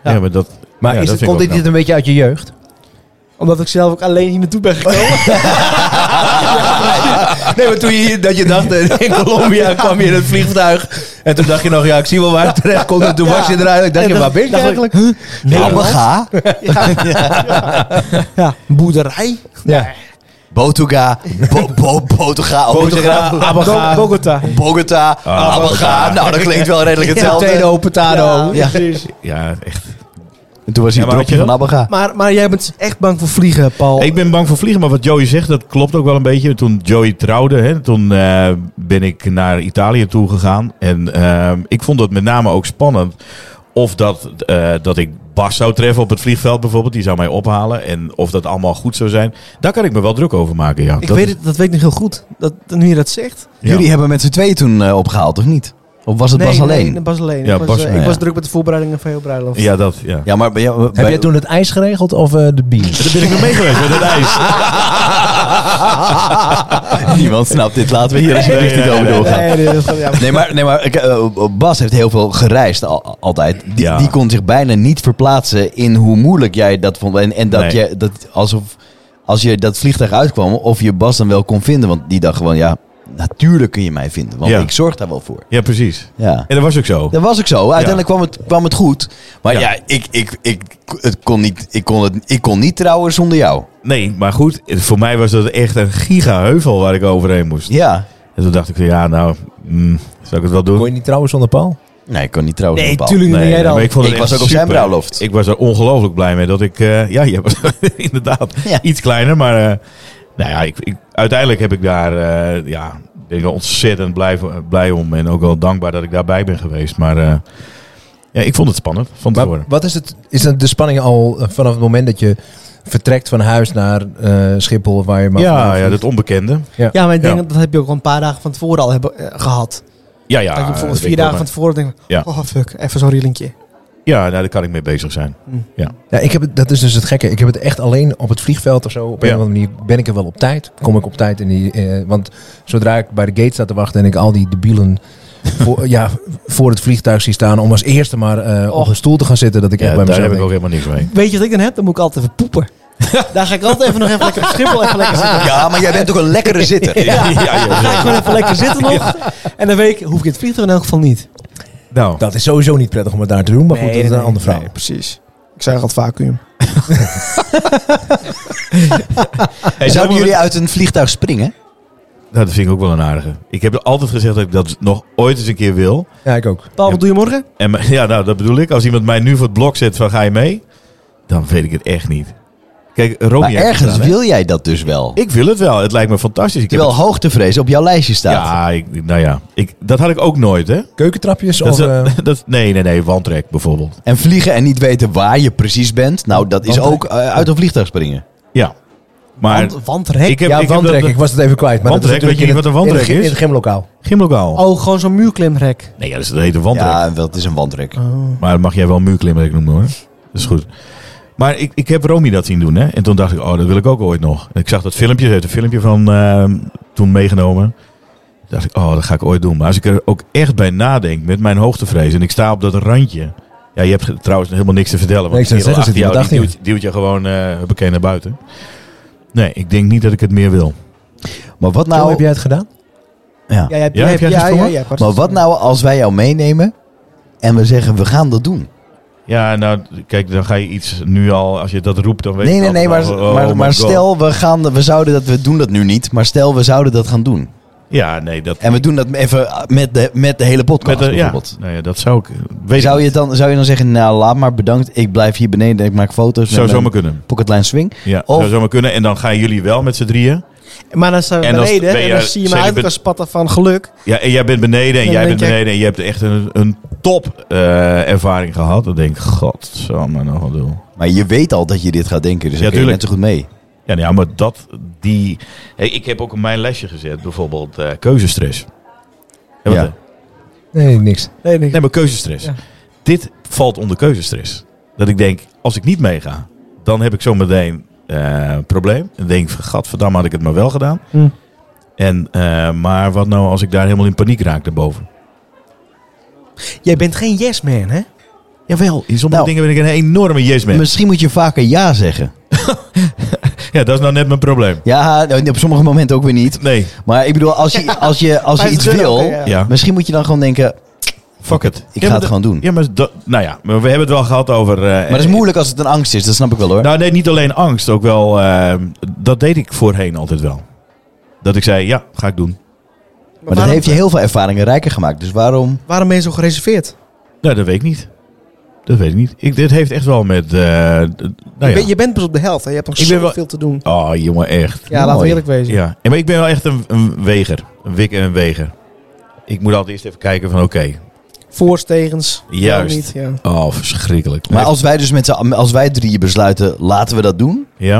maar dat... Maar Ja, is dat het, vind ik komt wel dit niet een beetje uit je jeugd? Omdat ik zelf ook alleen hier naartoe ben gekomen. Nee, maar toen je hier, dat je dacht, eh, in Colombia kwam je in het vliegtuig. En toen dacht je nog, ja, ik zie wel waar het terecht komt. En toen was je eruit. Ik dacht, je, En waar ben ik dacht ik, eigenlijk? Nederland? Ja, Ja, boerderij. Ja. Botoga, Bo- Bo- Botoga, Botoga, Bo- Bogota. Bogota, Abaga. Nou, dat klinkt wel redelijk hetzelfde. Potato, potato. Ja. precies. Ja, echt. En toen was hij Ja, het maar dropje weet van je Abaga. Maar, maar jij bent echt bang voor vliegen, Paul. Ik ben bang voor vliegen, maar wat Joey zegt, dat klopt ook wel een beetje. Toen Joey trouwde, hè, toen eh, ben ik naar Italië toe gegaan. En ehm, ik vond dat met name ook spannend. Of dat, eh, dat ik Bas zou treffen op het vliegveld bijvoorbeeld, die zou mij ophalen. En of dat allemaal goed zou zijn. Daar kan ik me wel druk over maken, ja. ik Dat weet is- het, dat weet ik nog heel goed. Dat, nu je dat zegt. ja. Jullie hebben met z'n tweeën toen eh, opgehaald, of niet? Of was het nee, Bas alleen? Nee, Bas alleen. Ja, ik was, Bas eh, alleen, ik was ja. druk met de voorbereidingen van heel bruiloft. Ja, dat, ja. Ja, maar bij jou... bij- Heb jij toen het ijs geregeld of eh, de bier? Daar ben ik nog mee geweest met het ijs. Niemand snapt dit. Laten we hier alsjeblieft niet over doorgaan. Nee, nee, dat gaat- ja. Nee, maar, nee, maar ik, eh, Bas heeft heel veel gereisd al- altijd. Die, Ja. die kon zich bijna niet verplaatsen in hoe moeilijk jij dat vond. En, en dat Nee. je dat alsof als je dat vliegtuig uitkwam, of je Bas dan wel kon vinden. Want die dacht gewoon, ja, natuurlijk kun je mij vinden. Want Ja. ik zorg daar wel voor. Ja, precies. Ja. En dat was ook zo. Dat was ook zo. Uiteindelijk kwam, het, kwam het goed. Maar ja, Ja. ik, ik, ik, het kon niet, ik, kon het, ik kon niet trouwen zonder jou. Nee, maar goed, voor mij was dat echt een gigaheuvel waar ik overheen moest. Ja. En toen dacht ik, van, ja, nou, mm, zou ik het wel doen? Kon je niet trouwen zonder Paul? Nee, ik kon niet trouwen Nee, zonder Paul. tuurlijk niet. Nee, jij dan. maar ik vond het Ik echt was ook op zijn super. bruiloft. Ik was er ongelooflijk blij mee dat ik... eh, ja, je was inderdaad Ja. iets kleiner. Maar eh, nou ja, ik, ik- uiteindelijk heb ik daar... eh, ja, ben ik wel ontzettend blij, voor- blij om. En ook wel dankbaar dat ik daarbij ben geweest. Maar eh, ja, ik vond het spannend van Maar tevoren. wat is het? Is dat de spanning al eh, vanaf het moment dat je vertrekt van huis naar eh, Schiphol of waar je maar Ja, vandaan ja, vliegt? dat onbekende. Ja, maar ik denk Ja. dat dat heb je ook al een paar dagen van tevoren al hebben, eh, gehad. Ja, ja. dat ik bijvoorbeeld dat vier weet ik dagen wel, van tevoren denk ik, Ja. oh fuck, even zo'n rielinkje. maar- Ja, nou, daar kan ik mee bezig zijn. Ja, ik heb het, dat is dus het gekke. Ik heb het echt alleen op het vliegveld of zo. Op een Ja. of andere manier ben ik er wel op tijd. Kom ik op tijd in die. eh, want zodra ik bij de gate sta te wachten en ik al die debielen. voor, ja, voor het vliegtuig zie staan om als eerste maar eh, op Och. een stoel te gaan zitten. Dat ik Ja, echt bij daar mezelf heb ik ook denk, helemaal niks mee. Weet je wat ik dan heb? Dan moet ik altijd even poepen. Daar ga ik altijd even nog even lekker op Schiphol even lekker zitten. Ja, maar jij bent ook een lekkere zitter. Ja, ja, Dan ga ik ja. gewoon even lekker zitten nog. En dan weet ik, hoef ik het vliegtuig in elk geval niet. Nou, Dat is sowieso niet prettig om het daar te doen. Maar goed, dat is een andere vraag. Nee, precies. Ik zei al het vacuüm. hey, Zouden zullen we- jullie uit een vliegtuig springen? Nou, dat vind ik ook wel een aardige. Ik heb altijd gezegd dat ik dat nog ooit eens een keer wil. Ja, ik ook. Paul, wat Ja. doe je morgen? En m- ja, nou, dat bedoel ik. Als iemand mij nu voor het blok zet van ga je mee, dan weet ik het echt niet. Kijk, Romeo. Maar heeft het ergens gedaan, hè? wil jij dat dus wel. Ik wil het wel. Het lijkt me fantastisch. Ik heb Terwijl hoogtevrees op jouw lijstje het- staat. ja, ik, nou ja. Ik, dat had ik ook nooit, hè? Keukentrapjes Dat of. is- eh, dat, nee, nee, nee. Wandtrek bijvoorbeeld. En vliegen en niet weten waar je precies bent. Nou, dat is Want- ook eh, uit een vliegtuig springen. Ja. Maar Want, wantrek? ik heb, ja, ik heb wandrek. dat- Ik was het even kwijt. Maar dat is Wandrek? Weet je natuurlijk niet in wat een het- wandrek in het- is? In het gymlokaal. Gymlokaal. Oh, gewoon zo'n muurklimrek. Nee, ja, dat is het hete wandtrek. Ja, dat is een wandrek. Oh. Maar dat mag jij wel muurklimrek noemen, hoor. Dat is goed. Maar ik, ik heb Romy dat zien doen, hè. En toen dacht ik, oh, dat wil ik ook ooit nog. En ik zag dat filmpje, ze heeft een filmpje van eh, toen meegenomen. Toen dacht ik, oh, dat ga ik ooit doen. Maar als ik er ook echt bij nadenk met mijn hoogtevrees... en ik sta op dat randje... Ja, je hebt ge- trouwens helemaal niks te vertellen. Want Nee, ik zou die kerel zeggen, achter zit jou, iemand die duwt, duwt je gewoon eh bekend naar buiten. Nee, ik denk niet dat ik het meer wil. Maar wat Hoe heb nou, jij het gedaan? ja. Ja, jij hebt, Ja, heb jij gesprongen? ja, ja, maar wat nou als wij jou meenemen en we zeggen we gaan dat doen? Ja, nou, kijk, dan ga je iets nu al... Als je dat roept, dan weet Nee, je nee, al nee, maar, van, oh, oh maar, my maar God. stel we, gaan, we zouden dat, we doen dat nu niet, maar stel we zouden dat gaan doen. Ja, nee, dat... En we doen dat even met de, met de hele podcast Met een- ja, bijvoorbeeld. nou ja, dat zou ik... Weet ik Zou je, dan, zou je dan zeggen, nou laat maar, bedankt, ik blijf hier beneden, ik maak foto's. Zou met mijn zomaar kunnen. Pocketline swing. Ja, Of- zou zomaar kunnen. En dan gaan jullie wel met z'n drieën. Maar dan sta je En dan beneden ben je- en dan zie je me zeg je uit ben- elkaar spatten van geluk. Ja, en jij bent beneden en Dan jij denk bent jij- beneden en je hebt echt een, een top eh, ervaring gehad. Dan denk ik, god, zo maar nog wat doen. Maar je weet al dat je dit gaat denken, dus Ja, ja, je tuurlijk. net zo goed mee. Ja, nou ja, maar dat, die... Hey, ik heb ook in mijn lesje gezet, bijvoorbeeld eh, keuzestress. Ja, wat, Ja. eh? Nee, niks. Nee, nee. Nee, maar keuzestress. Ja. Dit valt onder keuzestress. Dat ik denk, als ik niet meega, dan heb ik zometeen eh, een probleem. En denk ik, van, gadverdamme, had ik het maar wel gedaan. Hm. En, eh, maar wat nou als ik daar helemaal in paniek raak daarboven? Jij bent geen yes man, hè? Jawel, in sommige Nou. dingen ben ik een enorme yes man. Misschien moet je vaker ja zeggen. Ja, dat is nou net mijn probleem. Ja, nou, op sommige momenten ook weer niet. Nee, Maar ik bedoel, als je, als je, als je Bij iets het wil, willen, oké, ja. misschien moet je dan gewoon denken, fuck it. ik Ja, ga maar het gewoon doen. Ja, maar dat, nou ja, maar we hebben het wel gehad over... eh, Maar dat is moeilijk als het een angst is, dat snap ik wel hoor. Nou nee, niet alleen angst, ook wel... eh, dat deed ik voorheen altijd wel. Dat ik zei, ja, ga ik doen. maar dat waarom, heeft je heel veel ervaringen rijker gemaakt. Dus waarom? waarom ben je zo gereserveerd? Nou, dat weet ik niet. Dat weet ik niet. Ik, dit heeft echt wel met... eh, d- nou je, ja. bent, je bent pas op de helft, hè? Je hebt nog Ik ben wel- zoveel te doen. Oh, jongen, echt. Ja, laten we mooi. eerlijk wezen. Ja. En, maar ik ben wel echt een, een weger. Een wik en een weger. Ik moet altijd eerst even kijken van, oké. Voors, tegens. Juist. wel Niet, ja. Oh, verschrikkelijk. Maar Nee. als wij dus met z'n, als wij drieën besluiten, laten we dat doen. Ja.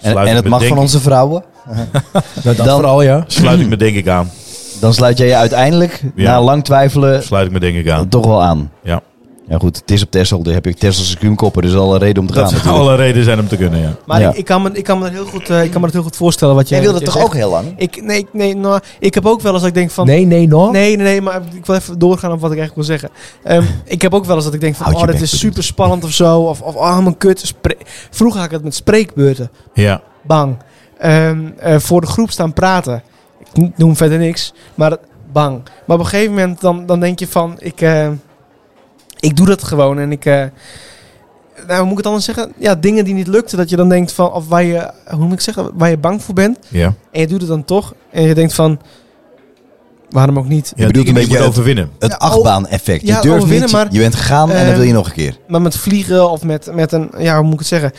En, Sluit en ik het me mag denk van ik- onze vrouwen. Dat, Nou, dat Dan- vooral, ja. Sluit ik me denk ik aan. Dan sluit jij je uiteindelijk, Ja. na lang twijfelen, Sluit ik me denk ik aan. toch wel aan. Ja. Ja goed, het is op Texel, daar heb je Tesselse kuumkoppen, dus al een reden om te gaan Dat zou natuurlijk. alle reden zijn om te kunnen, ja. Maar Ja. ik, ik, kan me, ik, kan me dat heel goed, eh, ik kan me dat heel goed voorstellen wat jij Jij wilde wat toch jij ook heel lang? zegt. Ik, nee, ik- nee nou, ik heb ook wel eens dat ik denk van... Nee, nee, Oh. no. Nee, nee, nee, maar ik wil even doorgaan op wat ik eigenlijk wil zeggen. Ehm, ik heb ook wel eens dat ik denk van, Houd oh, je dit bek, is bedoelt. super spannend of zo. Of, of oh, mijn kut. Spre- Vroeger had ik het met spreekbeurten. Ja. Bang. Ehm, eh, voor de groep staan praten. Ik n- noem verder niks, maar bang. Maar op een gegeven moment dan, dan denk je van, ik, eh, ik doe dat gewoon. En ik, eh, nou, hoe moet ik het anders zeggen? Ja, dingen die niet lukten, dat je dan denkt van, of waar je, hoe moet ik zeggen, waar je bang voor bent. Ja. En je doet het dan toch. En je denkt van, waarom ook niet? Je bedoelt een beetje het- overwinnen. Het Ja, achtbaan-effect. Je ja, durft overwinnen, niet, maar- je bent gegaan en dan Eh, wil je nog een keer. Maar met vliegen of met, met een, ja, hoe moet ik het zeggen?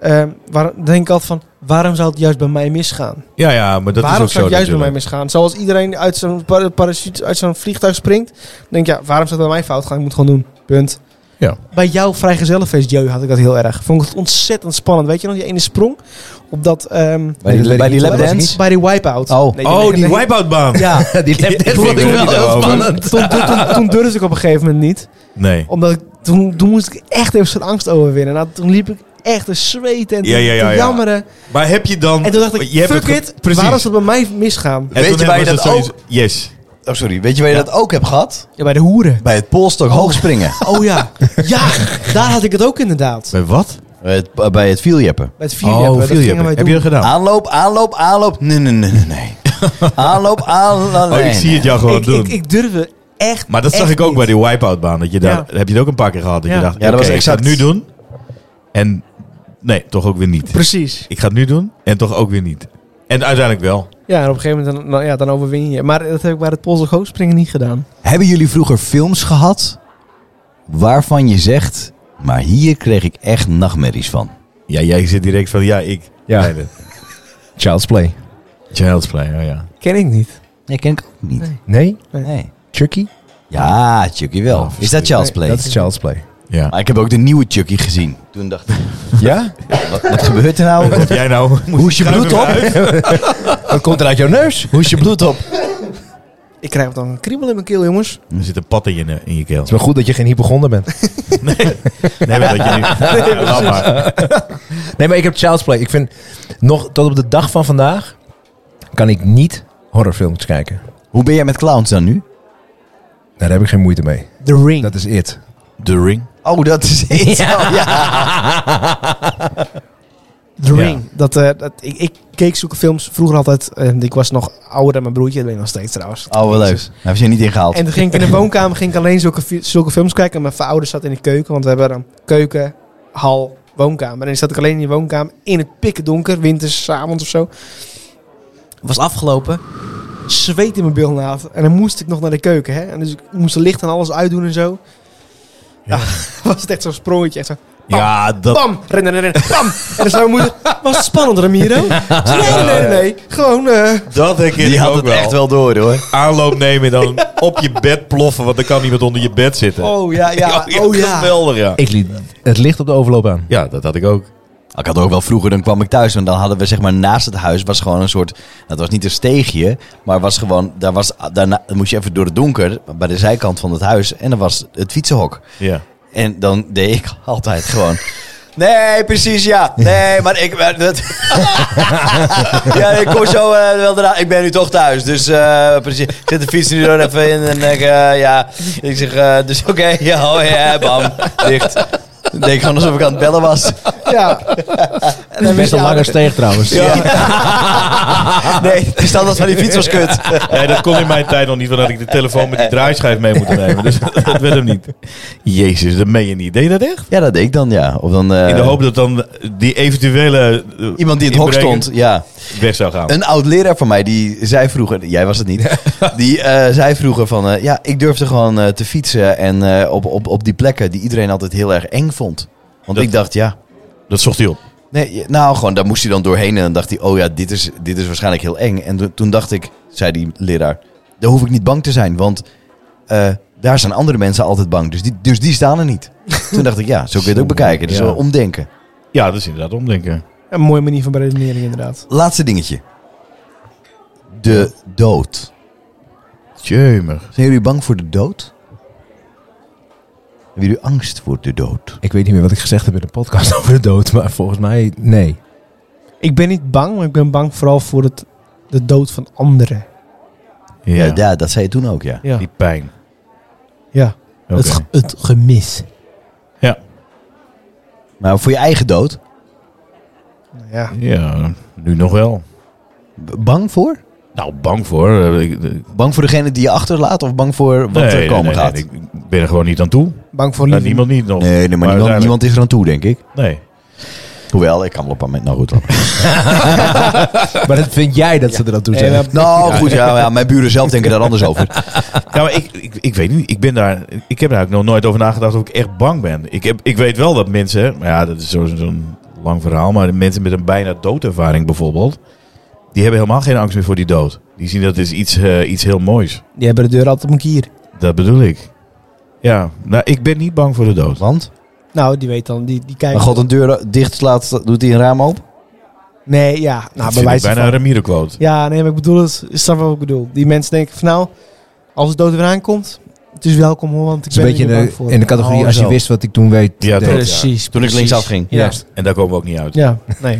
Ehm, waar, dan denk ik altijd van, waarom zou het juist bij mij misgaan? Ja, ja, maar dat waarom is zou ook het zo juist bij mij natuurlijk. misgaan? Zoals iedereen uit zo'n par- parachute, uit zo'n vliegtuig springt, dan denk ik, ja, waarom zou het bij mij fout gaan? Ik moet het gewoon doen. Punt. Ja. Bij jouw vrijgezellenfeest, Joe, had ik dat heel erg. Vond ik het ontzettend spannend. Weet je nog, die ene sprong op dat... ehm, Bij die, Nee, bij die dat bij- weet ik lapdance? Bij die wipeout. Oh. Nee, Oh, nee, die nee. wipeout baan. Ja, Die left Ik vond ik weet wel niet heel daarover. spannend. toen, toen, toen, toen durfde ik op een gegeven moment niet. Nee. Omdat ik, toen, toen moest ik echt even zijn angst overwinnen. Nou, toen liep ik echt te zweten en te, Ja, ja, ja, te ja. jammeren. Maar heb je dan... En toen dacht ik, je hebt fuck het ge- it, Precies. waarom zou het bij mij misgaan? En Weet toen je waar je hebben dat ze zoiets- Yes. Oh, sorry. Weet je waar je Ja. dat ook hebt gehad? Ja, bij de hoeren. Bij het polstok hoogspringen. Oh ja, ja, daar had ik het ook inderdaad. Bij wat? Oh, Bij het, bij het vieljeppen. Bij het Oh, vierjappen, dat viel je gingen wij Heb doen. je dat gedaan? Aanloop, aanloop, aanloop. Nee, nee, nee, nee, nee. Aanloop, aanloop. Oh, ik nee, zie nee. het jou gewoon ik, doen. ik, ik durfde echt maar dat zag echt ik ook niet. bij die wipeout baan. Dat je daar, Heb je het ook een paar keer gehad? Dat Ja. je dacht, Ja, dat was oké, exact. ik ga het nu doen. En nee, toch ook weer niet. Precies. Ik ga het nu doen en toch ook weer niet. En uiteindelijk wel. Ja, en op een gegeven moment dan, nou ja, dan overwin je. Maar dat heb ik bij het polsig hoogspringen niet gedaan. Hebben jullie vroeger films gehad waarvan je zegt, maar hier kreeg ik echt nachtmerries van? Ja, jij zit direct van, ja, ik. Ja, Nee, dat- Child's Play. Child's play, oh ja. Ken ik niet. Nee, ken ik ook niet. Nee? Nee. Chucky? Ja, Chucky wel. Oh, is dat Child's Play? Dat is Child's Play. ja. Maar ik heb ook de nieuwe Chucky gezien. Toen dacht ik, Ja? wat, wat gebeurt er nou? Of jij nou... Hoe is je Ga bloed even op? uit. Dat komt er uit jouw neus. Hoe is je bloed op? Ik krijg dan een kriebel in mijn keel, jongens. Er zit een pad in je, in je keel. Het is maar goed dat je geen hypochonder bent. Nee, maar dat je niet... Ja, laat maar. Nee, maar ik heb Child's Play. Ik vind, nog tot op de dag van vandaag, kan ik niet horrorfilms kijken. Hoe ben jij met clowns dan nu? Daar heb ik geen moeite mee. The Ring. Dat is it. The Ring. Oh, dat is iets. Oh, ja. The Ja. Ring. Dat, eh, dat, ik, ik keek zulke films vroeger altijd. en ik was nog ouder dan mijn broertje. Dat ben ik nog steeds trouwens. Oh, wel leuk. Daar hebben ze je niet ingehaald. En toen ging ik in de woonkamer ging ik alleen zulke, fi- zulke films kijken. En mijn vader zat in de keuken. Want we hebben dan keuken, hal, woonkamer. En dan zat ik alleen in de woonkamer. In het pikken donker. Winters, avonds of zo. Was afgelopen. Zweet in mijn bilnaad. En dan moest ik nog naar de keuken. Hè? En dus ik moest het licht en alles uitdoen en zo. Ah, was het echt zo'n sprongetje. Echt zo. Ja, dat... Bam! Rennen, rennen, rennen. Bam! En dan zei mijn moeder, was het spannend Ramiro? Ik zei, nee, nee, nee, nee. Gewoon, eh, Dat herken Die ik had ook het wel. echt wel door hoor. Aanloop nemen en dan op je bed ploffen, want dan kan iemand onder je bed zitten. oh ja, ja, oh ja. Geweldig, ja. Ik liet het licht op de overloop aan. Ja, dat had ik ook. Ik had ook wel vroeger, dan kwam ik thuis en dan hadden we zeg maar naast het huis was gewoon een soort, dat was niet een steegje, maar was gewoon, daar was, daarna dan moest je even door het donker bij de zijkant van het huis en dan was het fietsenhok. Ja. En dan deed ik altijd gewoon. Nee, precies ja. Nee, maar ik. maar dat- ja, ik kom zo eh, wel eraan. Ik ben nu toch thuis. Dus eh, precies. Ik zet de fiets nu er even in. En ik, eh, ja. Ik zeg, eh, dus oké. ja, oh ja, bam. Dicht. Ik denk gewoon alsof ik aan het bellen was. ja. En dan werd Best een je lange ouder. steeg trouwens. Nee, de standaard van die fiets was kut. Nee, dat kon in mijn tijd nog niet, want dan had ik de telefoon met die draaischijf mee moeten nemen. Dus dat werd hem niet. Jezus, dat meen je niet. Deed je dat echt? Ja, dat deed ik dan, ja. Of dan, eh, In de hoop dat dan die eventuele eh, Iemand die in het hok inbreker stond. Ja. weg zou gaan. Een oud leraar van mij, die zei vroeger, jij was het niet, die eh, zei vroeger van, eh, ja, ik durfde gewoon eh, te fietsen en eh, op, op, op die plekken die iedereen altijd heel erg eng vond. Want Dat- ik dacht, ja, Dat zocht hij op. nee, je- nou gewoon, daar moest hij dan doorheen en dan dacht hij, oh ja, dit is, dit is waarschijnlijk heel eng. En toen- toen dacht ik, zei die leraar, daar hoef ik niet bang te zijn, want eh, daar zijn andere mensen altijd bang, dus die, dus die staan er niet. Toen dacht ik, ja, zo kun je het ook bekijken, dus Ja. wel omdenken. Ja, dat is inderdaad omdenken. Een mooie manier van beredenering inderdaad. Laatste dingetje. De dood. Jemig. Zijn jullie bang voor de dood? Hebben jullie angst voor de dood? Ik weet niet meer wat ik gezegd heb in de podcast over de dood, maar volgens mij nee. Ik ben niet bang, maar ik ben bang vooral voor het, de dood van anderen. Ja, Ja, da- dat zei je toen ook, ja. Ja, die pijn. ja. Oké. Het, ge- het gemis. Maar voor je eigen dood? Nou Ja. Ja, nu nog wel. B- Bang voor? Nou, bang voor. eh, ik- eh, Bang voor degene die je achterlaat of bang voor wat nee, er komen nee, nee, gaat? nee, Nee, ik ben er gewoon niet aan toe. Bang voor Nou, liefde. niemand niet nog. nee, maar, niemand, uiteindelijk- niemand is er aan toe, denk ik. Nee. Hoewel, ik kan wel op een moment... Nou goed, laat maar. Maar dat vind jij dat ze er aan toe Nee, zijn. maar- Nou goed, ja, ja, mijn buren zelf denken daar anders over. Ja, maar ik, ik, ik weet niet. Ik ben daar. Ik heb daar eigenlijk nog nooit over nagedacht of ik echt bang ben. Ik, heb, ik weet wel dat mensen. Maar ja, dat is zo- zo'n lang verhaal. Maar de mensen met een bijna doodervaring bijvoorbeeld. Die hebben helemaal geen angst meer voor die dood. Die zien dat is iets, eh, iets heel moois. Die hebben de deur altijd op een kier. Dat bedoel ik. Ja, nou, ik ben niet bang voor de dood. Want? Nou, die weet dan, die, die kijkt. Maar God een deur dicht slaat, doet hij een raam open? Nee, ja. Nou, Nou, bij wijze bijna van. een Ramiro-quote. Ja, nee, maar ik bedoel het. Is dat wat ik bedoel? Die mensen denken van nou, als het dood er weer aankomt, het is welkom hoor, want ik Het is een ben beetje in er niet bang de, voor. in de categorie Oh, als je zo. wist wat ik toen weet. Ja, deed. dat- Precies. Toen ik precies. linksaf ging. Ja. En daar komen we ook niet uit. Ja, nee.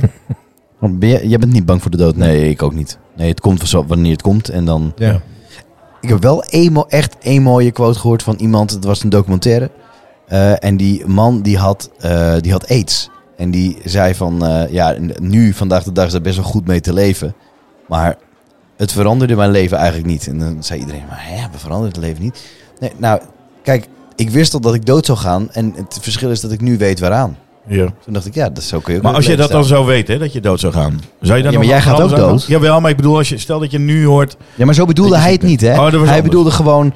Want ben jij, jij bent niet bang voor de dood? Nee, ik ook niet. Nee, het komt zo- wanneer het komt en dan... Ja. Ik heb wel één mo- echt één mooie quote gehoord van iemand. Het was een documentaire. Eh, en die man die had, eh, die had aids. En die zei van, eh, ja, n- nu vandaag de dag is daar best wel goed mee te leven. Maar het veranderde mijn leven eigenlijk niet. En dan zei iedereen, maar hè, we veranderen het leven niet. Nee, nou, kijk, ik wist al dat ik dood zou gaan. En het verschil is dat ik nu weet waaraan. Ja. Toen dacht ik, ja, dat zo kun je ook Maar met als het je dat leven dan zou weten, hè, dat je dood zou gaan. Zou je dan Ja, maar nog jij gaat anders ook aan- dood. Jawel, maar ik bedoel, als je, stel dat je nu hoort... staan. Ja, maar zo bedoelde Dat je hij het ziek niet, hè? bent. Oh, dat was hij anders. bedoelde gewoon,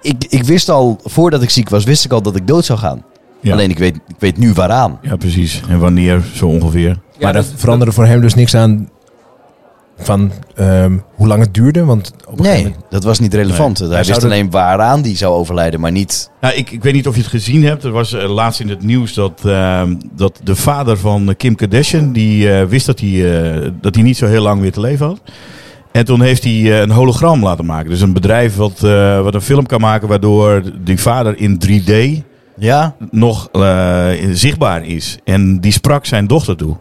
ik, ik wist al, voordat ik ziek was, wist ik al dat ik dood zou gaan. Ja. Alleen ik weet, ik weet nu waaraan. Ja, precies. En wanneer, zo ongeveer. maar dat, veranderde voor hem dus niks aan van ehm, hoe lang het duurde. Want op een gegeven Nee, moment, dat was niet relevant. Hij, Hij wist zou dat- alleen waaraan die zou overlijden, maar niet... Nou, ik, ik weet niet of je het gezien hebt. Er was eh, laatst in het nieuws dat, ehm, dat de vader van eh, Kim Kardashian... die eh, wist dat hij, eh, dat hij niet zo heel lang meer te leven had. En toen heeft hij eh, een hologram laten maken. Dus een bedrijf wat, eh, wat een film kan maken... waardoor die vader in 3D Ja? nog eh, zichtbaar is. En die sprak zijn dochter toe.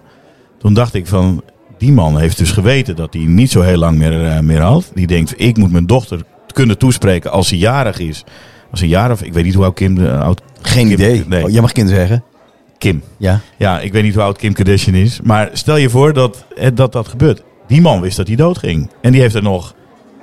Toen dacht ik van, die man heeft dus geweten dat hij niet zo heel lang meer, eh, meer had. Die denkt, ik moet mijn dochter kunnen toespreken als ze jarig is. Als ze jarig, ik weet niet hoe oud Kim, eh, oud Geen Kim- idee. nee. Oh, jij mag kinderen zeggen. Kim. Ja. Ja, ik weet niet hoe oud Kim Kardashian is. Maar stel je voor dat eh, dat, dat gebeurt. Die man wist dat hij doodging. En die heeft er nog,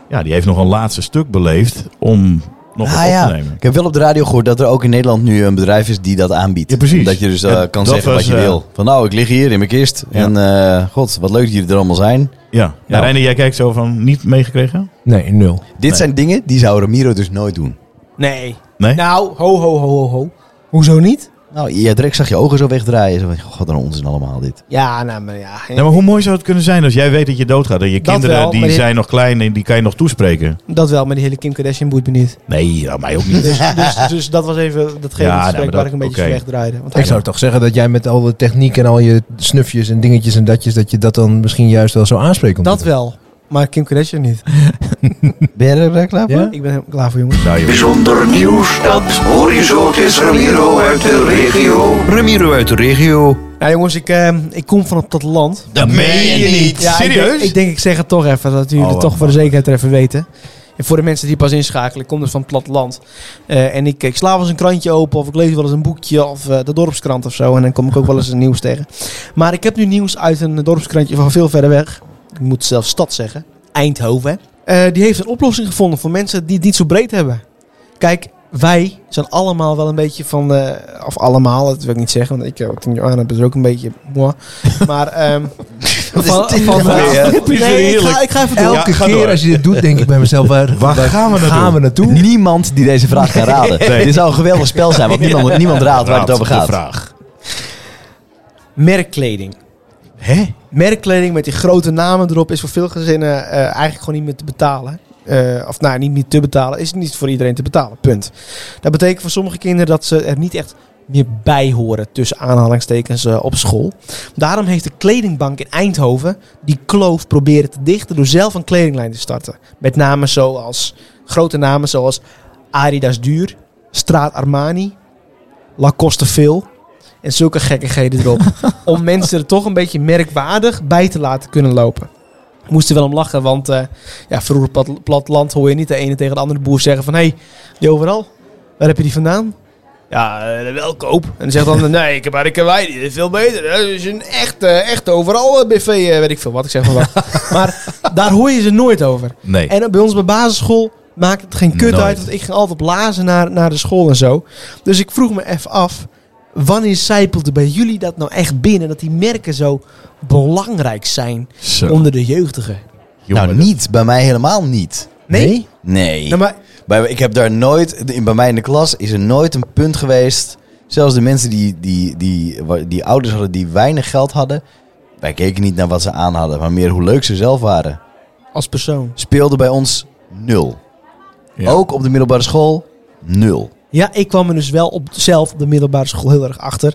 ja, die heeft nog een laatste stuk beleefd om nog wat Ah, op ja. te nemen. Ik heb wel op de radio gehoord dat er ook in Nederland nu een bedrijf is die dat aanbiedt. Ja, precies. Dat je dus eh, Ja, kan dat zeggen was, wat je eh, wil. Van nou, ik lig hier in mijn kist. Ja. En eh, god, wat leuk dat jullie er allemaal zijn. Ja, ja Nou. Reiner, jij kijkt zo van, niet meegekregen? nee, nul. Dit zijn dingen die zou Ramiro dus nooit doen. Nee. Nee? Nou, ho, ho, ho, ho, ho. Hoezo niet? Nou, Jedrek zag je ogen zo wegdraaien. Zo van, god, een onzin allemaal dit. Ja, nou, maar ja. Nou, maar hoe mooi zou het kunnen zijn als jij weet dat je doodgaat? En je Dat kinderen wel, die maar dit- zijn nog klein en die kan je nog toespreken. Dat wel, maar die hele Kim Kardashian boeit me niet. Nee, nou, mij ook niet. Dus, dus, dus dat was even datgene Ja, ja, nou, maar dat- waar ik een beetje oké. wegdraaide. Want Ik zou toch zeggen dat jij met alle techniek en al je snufjes en dingetjes en datjes, dat je dat dan misschien juist wel zo aanspreekt. dat wel, maar Kim Kardashian niet. Ben jij er klaar voor? Ja? Ik ben helemaal klaar voor, jongens. Nou, joh. Bijzonder nieuws dat Horizon is Ramiro uit de regio. Ramiro uit de regio. Nou jongens, ik, eh, ik kom van het platteland. Dat meen je niet. Ja, Ik Serieus? denk, ik denk, ik zeg het toch even, dat jullie Oh, het toch eh, voor de zekerheid er even weten. En voor de mensen die pas inschakelen, ik kom dus van het platteland. Eh, en ik, ik sla wel eens een krantje open of ik lees wel eens een boekje of eh, de dorpskrant of zo. En dan kom ik ook wel eens een nieuws tegen. Maar ik heb nu nieuws uit een dorpskrantje van veel verder weg. Ik moet zelfs stad zeggen. Eindhoven. hè. Eh, die heeft een oplossing gevonden voor mensen die het niet zo breed hebben. Kijk, wij zijn allemaal wel een beetje van... de- of allemaal, dat wil ik niet zeggen. Want ik heb toen Johan heb is ook een beetje... moi. Maar... ehm Wat van, is dit van- nou weer? nee, ik ga, ik ga even door. Elke Ja, ga keer door. als je dit doet, denk ik bij mezelf, waar, Waar gaan we gaan we naartoe? Niemand die deze vraag kan raden. Nee. Dit zou een geweldig spel zijn, want niemand, niemand raadt waar het over de gaat. vraag. Merkkleding. Hè? Merkkleding met die grote namen erop is voor veel gezinnen eh, eigenlijk gewoon niet meer te betalen. Eh, of nou, niet meer te betalen. Is niet voor iedereen te betalen. Punt. Dat betekent voor sommige kinderen dat ze er niet echt meer bij horen. Tussen aanhalingstekens eh, op school. Daarom heeft de kledingbank in Eindhoven die kloof proberen te dichten door zelf een kledinglijn te starten. Met namen zoals, grote namen zoals Adidas Duur, Straat Armani, Lacoste Veel en zulke gekkigheden erop. om mensen er toch een beetje merkwaardig bij te laten kunnen lopen. Ik moest er wel om lachen, want eh, ja, vroeger plat, platteland hoor je niet de ene tegen de andere boer zeggen van... Hé, hey, die overal, waar heb je die vandaan? Ja, eh, welkoop. En dan zegt dan, nee, ik heb uit de Karwei, die is veel beter. Dat is een echt, eh, echt overal eh, BV, eh, weet ik veel wat ik zeg van wat. maar daar hoor je ze nooit over. Nee. En bij ons bij basisschool maakt het geen kut Nooit. uit. Want ik ging altijd blazen naar, naar de school en zo. Dus ik vroeg me even af. Wanneer zijpelde bij jullie dat nou echt binnen? Dat die merken zo belangrijk zijn Zo, onder de jeugdigen. jongen, nou, niet. Bij mij helemaal niet. Nee? Nee. Nou, maar, Bij, ik heb daar nooit, in- bij mij in de klas is er nooit een punt geweest. Zelfs de mensen die, die, die, wa- die ouders hadden die weinig geld hadden. Wij keken niet naar wat ze aan hadden, maar meer hoe leuk ze zelf waren. als persoon. Speelde bij ons nul. Ja. Ook op de middelbare school nul. Ja, ik kwam er dus wel op zelf op de middelbare school heel erg achter.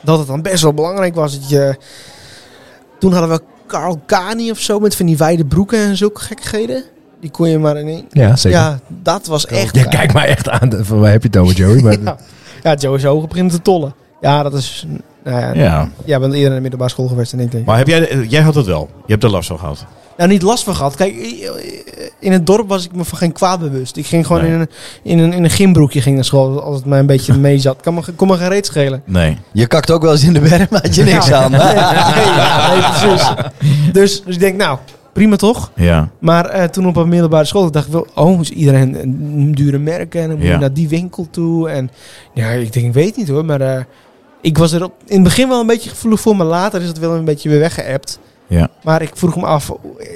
Dat het dan best wel belangrijk was dat je... Toen hadden we Karl Kani of zo met van die wijde broeken en zulke gekkigheden. Die kon je maar in één... Ja, zeker. Ja, dat was echt... Jij kijkt mij echt aan. Van, waar heb je het over, Joey? Maar, Ja. Ja, Joe is ogen beginnen te tollen. Ja, dat is... Nou ja, Ja. Jij bent eerder in de middelbare school geweest dan ik denk. Maar heb jij, eh, jij had het wel. Je hebt er last van gehad. Nou, niet last van gehad. Kijk, in het dorp was ik me van geen kwaad bewust. Ik ging gewoon Nee. in, een, in, een, in een gymbroekje ging naar school, als het mij een beetje mee zat. Kan me, ge- kon me geen reet schelen. Nee. Je kakt ook wel eens in de berm, had je niks aan. Nee, nee, precies. Dus, dus ik denk, nou, prima toch? Ja. Maar eh, toen op een middelbare school dacht ik wel, oh, is iedereen een dure merken en dan moet Ja. je naar die winkel toe. En ja, ik denk, ik weet niet hoor, maar eh, ik was er op, in het begin wel een beetje gevoelig voor, maar later is het wel een beetje weer weggeëpt. Ja. Maar ik vroeg me af,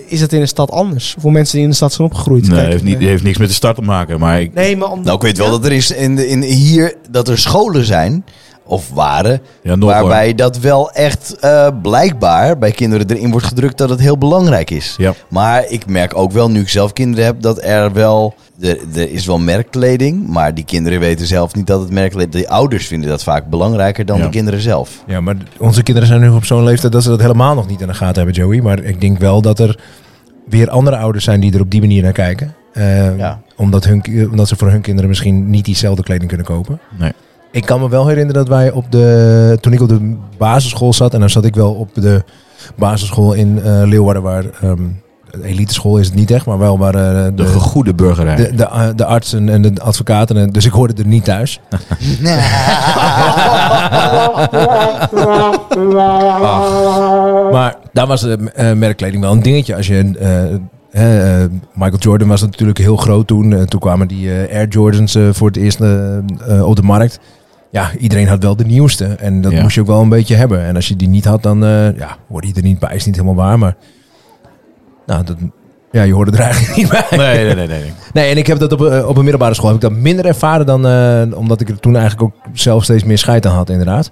is dat in de stad anders? Voor mensen die in de stad zijn opgegroeid? Nee, Kijk, heeft, niet, eh, heeft niks met de start te maken. Maar ik, Nee, maar om, Nou, ik weet wel Ja. dat er is in, de- in hier dat er scholen zijn of waren ja, nog hoor. waarbij dat wel echt eh, blijkbaar bij kinderen erin wordt gedrukt dat het heel belangrijk is. Ja. Maar ik merk ook wel, nu ik zelf kinderen heb, dat er wel. Er, er is wel merkkleding, maar die kinderen weten zelf niet dat het merkkleding. De ouders vinden dat vaak belangrijker dan Ja. de kinderen zelf. ja, maar onze kinderen zijn nu op zo'n leeftijd dat ze dat helemaal nog niet in de gaten hebben, Joey. Maar ik denk wel dat er weer andere ouders zijn die er op die manier naar kijken. Eh, Ja. omdat, hun, ki- omdat ze voor hun kinderen misschien niet diezelfde kleding kunnen kopen. Nee. Ik kan me wel herinneren dat wij op de. Toen ik op de basisschool zat, en dan zat ik wel op de basisschool in eh, Leeuwarden, waar. ehm elite school is het niet echt, maar wel waar. eh, De gegoede burgerij. de, de, eh, de artsen en de advocaten. En, dus ik hoorde er niet thuis. Maar daar was de eh, merkkleding wel een dingetje. Als je, eh, hè, eh, Michael Jordan was natuurlijk heel groot toen. Eh, toen kwamen die eh, Air Jordans eh, voor het eerst eh, eh, op de markt. Ja, iedereen had wel de nieuwste. En dat Ja. moest je ook wel een beetje hebben. En als je die niet had, dan eh ja, hoorde je er niet bij. Is niet helemaal waar, maar... Nou, dat Ja, je hoorde er eigenlijk niet bij. Nee, nee, nee. nee, nee. Nee, en ik heb dat op, eh, op een middelbare school heb ik dat minder ervaren dan eh, omdat ik er toen eigenlijk ook zelf steeds meer scheid aan had, inderdaad.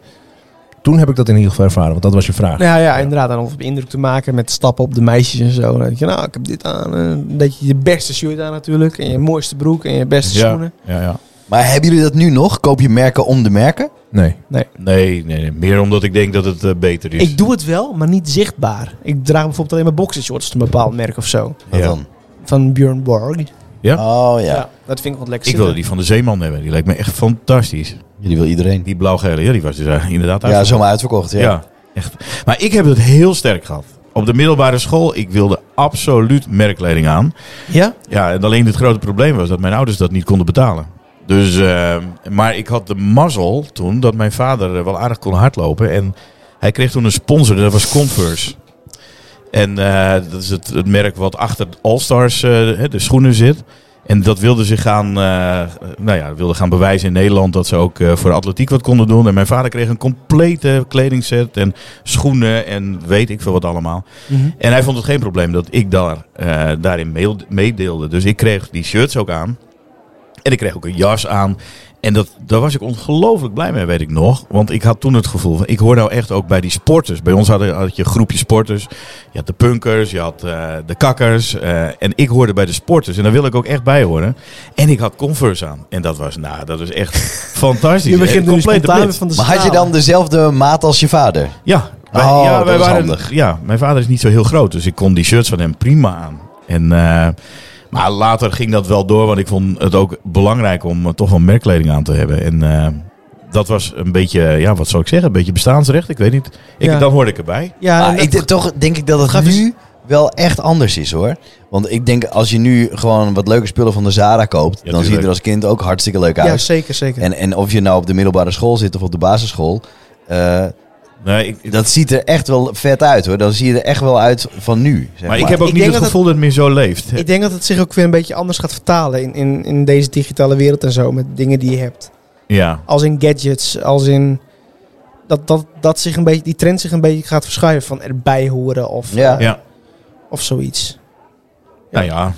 Toen heb ik dat in ieder geval ervaren, want dat was je vraag. Ja, ja, inderdaad. En om op indruk te maken met stappen op de meisjes en zo. Dan denk je, nou, ik heb dit aan. eh, Dat je je beste shirt aan natuurlijk. En je mooiste broek en je beste Ja, schoenen. ja, ja. Maar hebben jullie dat nu nog? Koop je merken om de merken? Nee. Nee, nee, nee, meer omdat ik denk dat het eh, beter is. Ik doe het wel, maar niet zichtbaar. Ik draag bijvoorbeeld alleen maar boxershorts van een bepaald merk of zo. Wat Ja. dan? Van Björn Borg. Oh Ja. ja. dat vind ik wat lekker Ik wilde zitten. die van de Zeeman hebben. Die lijkt me echt fantastisch. Jullie wil iedereen. Die blauw-gele, ja, die was dus eh, inderdaad Ja, zomaar uitverkocht. Ja. Ja. echt. Maar ik heb het heel sterk gehad. Op de middelbare school, ik wilde absoluut merkkleding aan. Ja? Ja, en alleen het grote probleem was dat mijn ouders dat niet konden betalen. Dus, eh, maar ik had de mazzel toen dat mijn vader eh, wel aardig kon hardlopen. En hij kreeg toen een sponsor, dat was Converse. En eh, dat is het, het merk wat achter de All-Stars, eh, hè, de schoenen zit. En dat wilde zich gaan, eh, nou ja, wilde gaan bewijzen in Nederland dat ze ook eh, voor atletiek wat konden doen. En mijn vader kreeg een complete kledingset en schoenen en weet ik veel wat allemaal. Mhm. En hij vond het geen probleem dat ik daar, eh, daarin meel- meedeelde. Dus ik kreeg die shirts ook aan. En ik kreeg ook een jas aan. En dat, daar was ik ongelooflijk blij mee, weet ik nog. Want ik had toen het gevoel van, ik hoor nou echt ook bij die sporters. Bij ons hadden, had je een groepje sporters. Je had de punkers, je had eh, de kakkers. eh, en ik hoorde bij de sporters. En daar wilde ik ook echt bij horen. En ik had Converse aan. En dat was, nou, dat was echt fantastisch. Je begint nu Een complete spontaan blitz. van de Maar had je dan dezelfde maat als je vader? Ja, wij, Oh, ja, dat wij is waren, handig. Ja, mijn vader is niet zo heel groot, dus ik kon die shirts van hem prima aan. En, eh, maar later ging dat wel door, want ik vond het ook belangrijk om eh, toch wel merkkleding aan te hebben. En eh, dat was een beetje, ja, wat zou ik zeggen, een beetje bestaansrecht, ik weet niet. Ik, Ja. Dan hoorde ik erbij. Ja, Maar en ik, dat- denk- toch denk ik dat het Gaat nu dus- wel echt anders is hoor. Want ik denk als je nu gewoon wat leuke spullen van de Zara koopt, dan tuurlijk. ziet er als kind ook hartstikke leuk ja, uit. zeker, zeker. en, en of je nou op de middelbare school zit of op de basisschool, eh, Nee, ik, dat ziet er echt wel vet uit hoor. Dan zie je er echt wel uit van nu. Zeg maar ik heb ook Ik niet denk het dat het- gevoel dat het meer zo leeft. Ik denk dat het zich ook weer een beetje anders gaat vertalen in, in, in deze digitale wereld en zo. Met dingen die je hebt. Ja, Als in gadgets, als in... Dat, dat, dat zich een beetje, die trend zich een beetje gaat verschuiven van erbij horen of, Ja. eh, Ja. of zoiets. nou ja,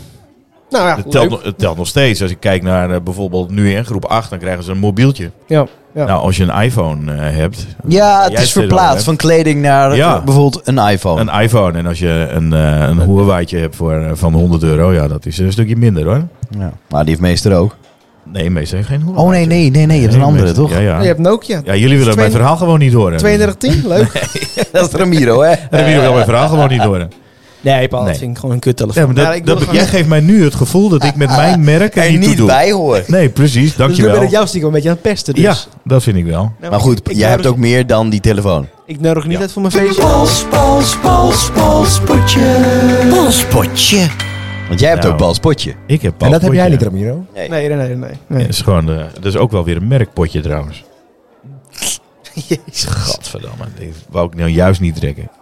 Nou ja, het telt, leuk. nog- het telt nog steeds. Als ik kijk naar eh, bijvoorbeeld nu in groep 8, dan krijgen ze een mobieltje. Ja, ja. Nou, als je een iPhone eh, hebt, Ja, het Jij is zit er wel, verplaatst hè? van kleding naar Ja. eh, bijvoorbeeld een iPhone. Een iPhone. En als je een, eh een Huawei'tje hebt voor, eh, van 100 euro, ja, dat is een stukje minder hoor. Ja. Maar die heeft meester ook. Nee, meestal heeft geen Huawei. Oh nee, nee, nee, nee, je hebt een andere meestal- toch? Ja, ja. je hebt Nokia. ja, jullie willen mijn Tweede- verhaal gewoon niet horen. 3210, leuk. Nee, Dat is Ramiro hè? Dan hebben jullie wel mijn verhaal gewoon niet horen. Paul, Nee. dat vind ik gewoon een kuttelefoon. Ja, maar dat, Ja, nou, ik wil dat- gewoon- jij geeft mij nu het gevoel dat ik met mijn merk er En niet toe niet doe. bij hoor. Nee, precies. dus nu ben Dankjewel. ik jou stiekem een beetje aan het pesten. Dus. Ja, dat vind ik wel. Nou, Maar ik- goed, ik jij hebt nodig- ook meer dan die telefoon. Ik nodig niet Ja. uit voor mijn feestje. Pols, pols, pols, polspotje. Polspotje. Want jij hebt Nou. ook balspotje. Ik heb En dat heb potje. jij niet, Ramiro? Nee, nee, nee. nee, nee. Ja, is gewoon, eh, dat is ook wel weer een merkpotje trouwens. Jezus. Godverdamme. Die wou ik nou juist niet trekken.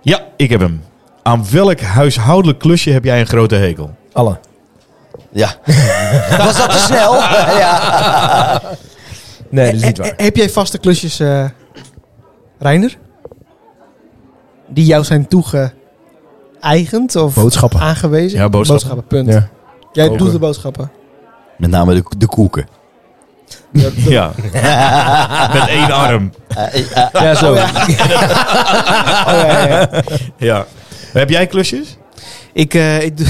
Ja, ik heb hem. Aan welk huishoudelijk klusje heb jij een grote hekel? Alle. Ja. Was dat te snel? ja. Nee, dat is niet Eh, eh, waar. Heb jij vaste klusjes, eh Reiner? Die jou zijn toegeëigend of Boodschappen. aangewezen? Ja, boodschappen. punt. Ja. Jij Koken. doet de boodschappen. Met name de, de koeken. Ja. Met één arm. Ja, zo. Oh, Ja. Heb jij klusjes? Ik, eh, ik, doe-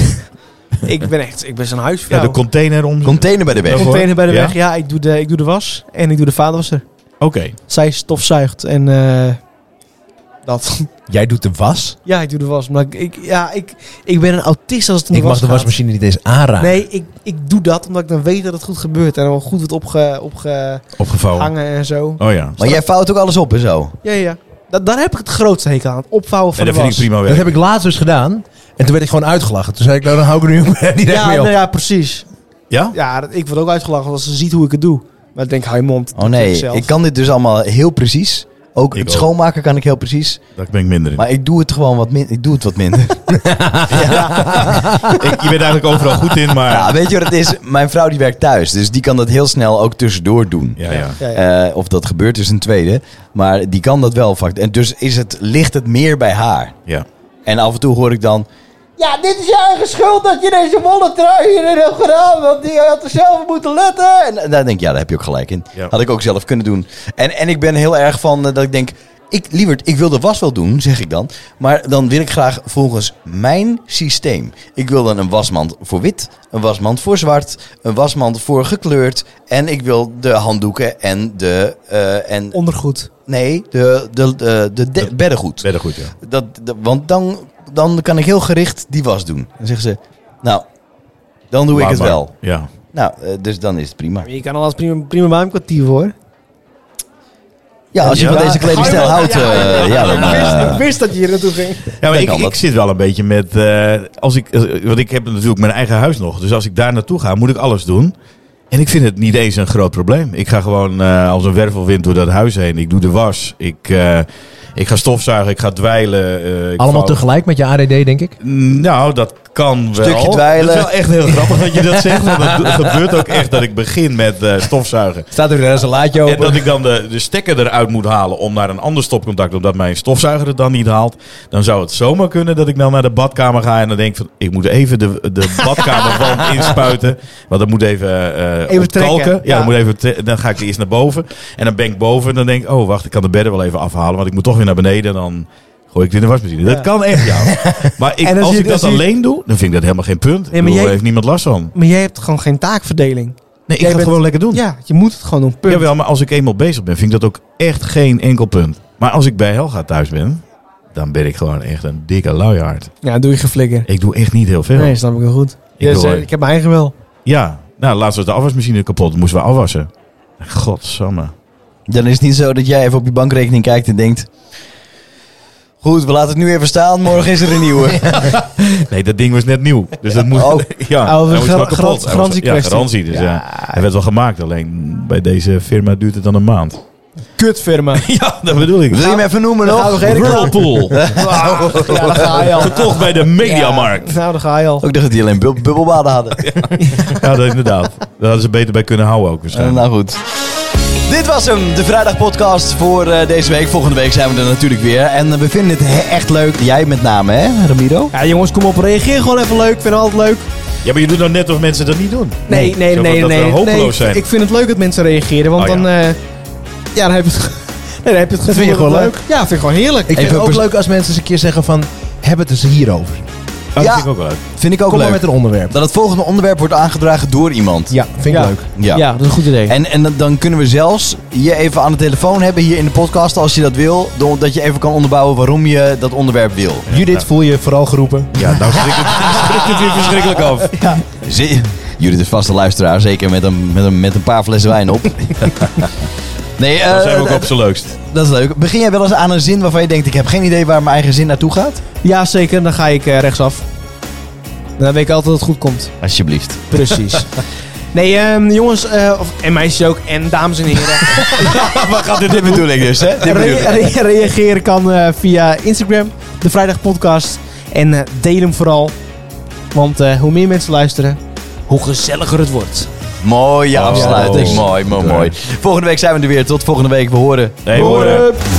ik ben echt, ik ben zo'n Ja, huisvrouw. de container om. Oké. Container bij de weg. Ja. container bij de Ja? weg. Ja, ik doe de, ik doe de was en ik doe de vaatwasser. Zij stofzuigt en eh, dat. Jij doet de was? Ja, ik doe de was. Maar ik, ik- ja, ik, ik ben een autist als het om Ik mag de gaat. wasmachine niet eens aanraken. Nee, ik, ik doe dat omdat ik dan weet dat het goed gebeurt. En dan goed wordt opge, opgehangen Opgevouwen. en zo. Oh ja. Maar jij fout ook alles op en zo. Ja, ja. Da- daar heb ik het grootste hekel aan. Het opvouwen En van dat de vind was. ik prima Dat werk. heb ik laatst dus gedaan. En toen werd ik gewoon uitgelachen. Toen zei ik, nou dan hou ik er nu ook niet echt ja, mee op. nou ja, precies. Ja? Ja, dat- ik word ook uitgelachen als ze ziet hoe ik het doe. Maar ik denk, hou je mond. Oh nee, ik kan dit dus allemaal heel precies. Ook Ik het ook. schoonmaken kan ik heel precies. Daar ben ik minder in. Maar ik doe het gewoon wat, min ik doe het wat minder. Ik- je bent eigenlijk overal goed in, maar. ja, weet je wat het is? Mijn vrouw die werkt thuis. Dus die kan dat heel snel ook tussendoor doen. Ja, ja. Ja, ja. Eh, of dat gebeurt is een tweede. Maar die kan dat wel vaak. En dus is het, ligt het meer bij haar. ja. En af en toe hoor ik dan... Ja, dit is je eigen schuld dat je deze wollen trui hierin hebt gedaan. Want die had er zelf moeten letten. En En dan denk ik, ja, daar heb je ook gelijk in. Ja. Had ik ook zelf kunnen doen. En, en ik ben heel erg van eh, dat ik denk... Ik, lieverd, ik wil de was wel doen, zeg ik dan. Maar dan wil ik graag volgens mijn systeem. Ik wil dan een wasmand voor wit, een wasmand voor zwart, een wasmand voor gekleurd. En ik wil de handdoeken en de. eh, en, Ondergoed. nee, de, de, de, de, de- beddengoed. Verder goed, ja. Dat, dat- want dan, dan kan ik heel gericht die was doen. Dan zeggen ze, nou, dan doe ik Maar- het maar- wel. Ja. Nou, eh, dus dan is het prima. Je kan al als prima, prima bij een kwartier hoor. Ja, als je Ja. van deze kledingstijl houdt, eh, ja, dan... ik, wist, eh, ik wist dat je hier naartoe ging. Ja, maar Denk ik, al ik wat. zit wel een beetje met. eh, als ik, eh, want ik heb natuurlijk mijn eigen huis nog. Dus als ik daar naartoe ga, moet ik alles doen. En ik vind het niet eens een groot probleem. Ik ga gewoon eh, als een wervelwind door dat huis heen. Ik doe de was. Ik, eh, ik ga stofzuigen. Ik ga dwijlen. eh, ik Allemaal vouw- tegelijk met je ADD, denk ik. Nou, dat kan wel. Stukje dweilen. Het is wel echt heel grappig dat je dat zegt. Want het gebeurt ook echt dat ik begin met eh, stofzuigen. Staat er een laadje En dat ik dan de, de stekker eruit moet halen om naar een ander stopcontact, omdat mijn stofzuiger het dan niet haalt. Dan zou het zomaar kunnen dat ik dan naar de badkamer ga en dan denk van, ik moet even de, de badkamerwand inspuiten. Want dat moet even, eh Even ontkalken. trekken, Ja, ja. dat moet even tre- dan ga ik eerst naar boven. En dan ben ik boven en dan denk ik, oh wacht, ik kan de bedden wel even afhalen, want ik moet toch weer naar beneden. Dan gooi ik dit in de wasmachine. Dat kan echt, ja. Maar ik, En als, als je- ik dat als je- alleen doe, dan vind ik dat helemaal geen punt. Ik maar bedoel, jij- Daar heeft niemand last van. Maar jij hebt gewoon geen taakverdeling. Nee, ik Jij ga het bent- gewoon lekker doen. Ja, je moet het gewoon doen. Punt. Jawel, maar als ik eenmaal bezig ben, vind ik dat ook echt geen enkel punt. Maar als ik bij Helga thuis ben, dan ben ik gewoon echt een dikke luiaard. Ja, doe je geflikker. Ik doe echt niet heel veel. Nee, snap ik heel goed. Ik Dus, wil- eh, ik heb mijn eigen wel. Ja, nou, laatst was de afwasmachine kapot, moesten we afwassen. Godsamme. dan is het niet zo dat jij even op je bankrekening kijkt en denkt... Goed, we laten het nu even staan, morgen is er een nieuwe. Nee, dat ding was net nieuw. Dus dat moet. Oh. ja, hij Oh, was wel gar- kapot. garant- Hij was- Ja, garantiekwestie. garantie. Dus ja. Hij werd wel gemaakt, alleen bij deze firma duurt het dan een maand. Kutfirma. Ja, dat bedoel ik. Wil je hem even noemen nog? Whirlpool. ja, daar ga je al. Gekocht bij de Mediamarkt. Nou, daar ga je al. Ook dacht dat die alleen bub- bubbelbaden hadden. Ja, dat inderdaad. Daar hadden ze beter bij kunnen houden ook Eh, waarschijnlijk. nou goed. Dit was hem, de vrijdagpodcast voor eh, deze week. Volgende week zijn we er natuurlijk weer. En eh, we vinden het he- echt leuk. Jij met name, hè, Ramiro? Ja, jongens, kom op. Reageer gewoon even leuk. Ik vind het altijd leuk. Ja, maar je doet nou net of mensen dat niet doen. Nee, nee, Zo van nee, dat nee. we hopeloos nee. zijn. Ik vind het leuk dat mensen reageren, want Oh, ja. dan, eh, ja, dan heb je het, ge- nee, dan heb je het gevoel vind je dat het gewoon Ja, vind ik gewoon heerlijk. Ik vind Even het ook pers- leuk als mensen eens een keer zeggen van... Heb het eens hierover. Kom Oh, dat Ja. vind ik ook wel leuk. Vind ik ook maar leuk. met een onderwerp. Dat het volgende onderwerp wordt aangedragen door iemand. Ja, vind ik Ja. leuk. Ja. dat is een goed idee. En, en dan- dan kunnen we zelfs je even aan de telefoon hebben hier in de podcast als je dat wil. door- Dat je even kan onderbouwen waarom je dat onderwerp wil. Judith, voel je vooral geroepen. Ja, nou schrikt het, schrikt het weer verschrikkelijk af. Zie- Jullie de vaste luisteraar, zeker met een, met een, met een paar flessen wijn op. nee, eh, Dan zijn we ook op zijn leukst. dat is leuk. Begin jij wel eens aan een zin waarvan je denkt, ik heb geen idee waar mijn eigen zin naartoe gaat? Ja, zeker. Dan ga ik eh, rechtsaf. Dan weet ik altijd dat het goed komt. Alsjeblieft. Precies. nee, ehm, jongens, eh, of, en meisjes ook, en dames en heren. Wat gaat dit, dit bedoel ik dus, hè? Dit bedoel Re- ik. re- reageren kan eh, via Instagram, de Vrijdag Podcast. En eh, deel hem vooral. Want eh, hoe meer mensen luisteren, hoe gezelliger het wordt. Mooie afsluiting. Oh. Mooi, mooi, mooi. Volgende week zijn we er weer. Tot volgende week. We horen. eh, Nee, horen. Hup.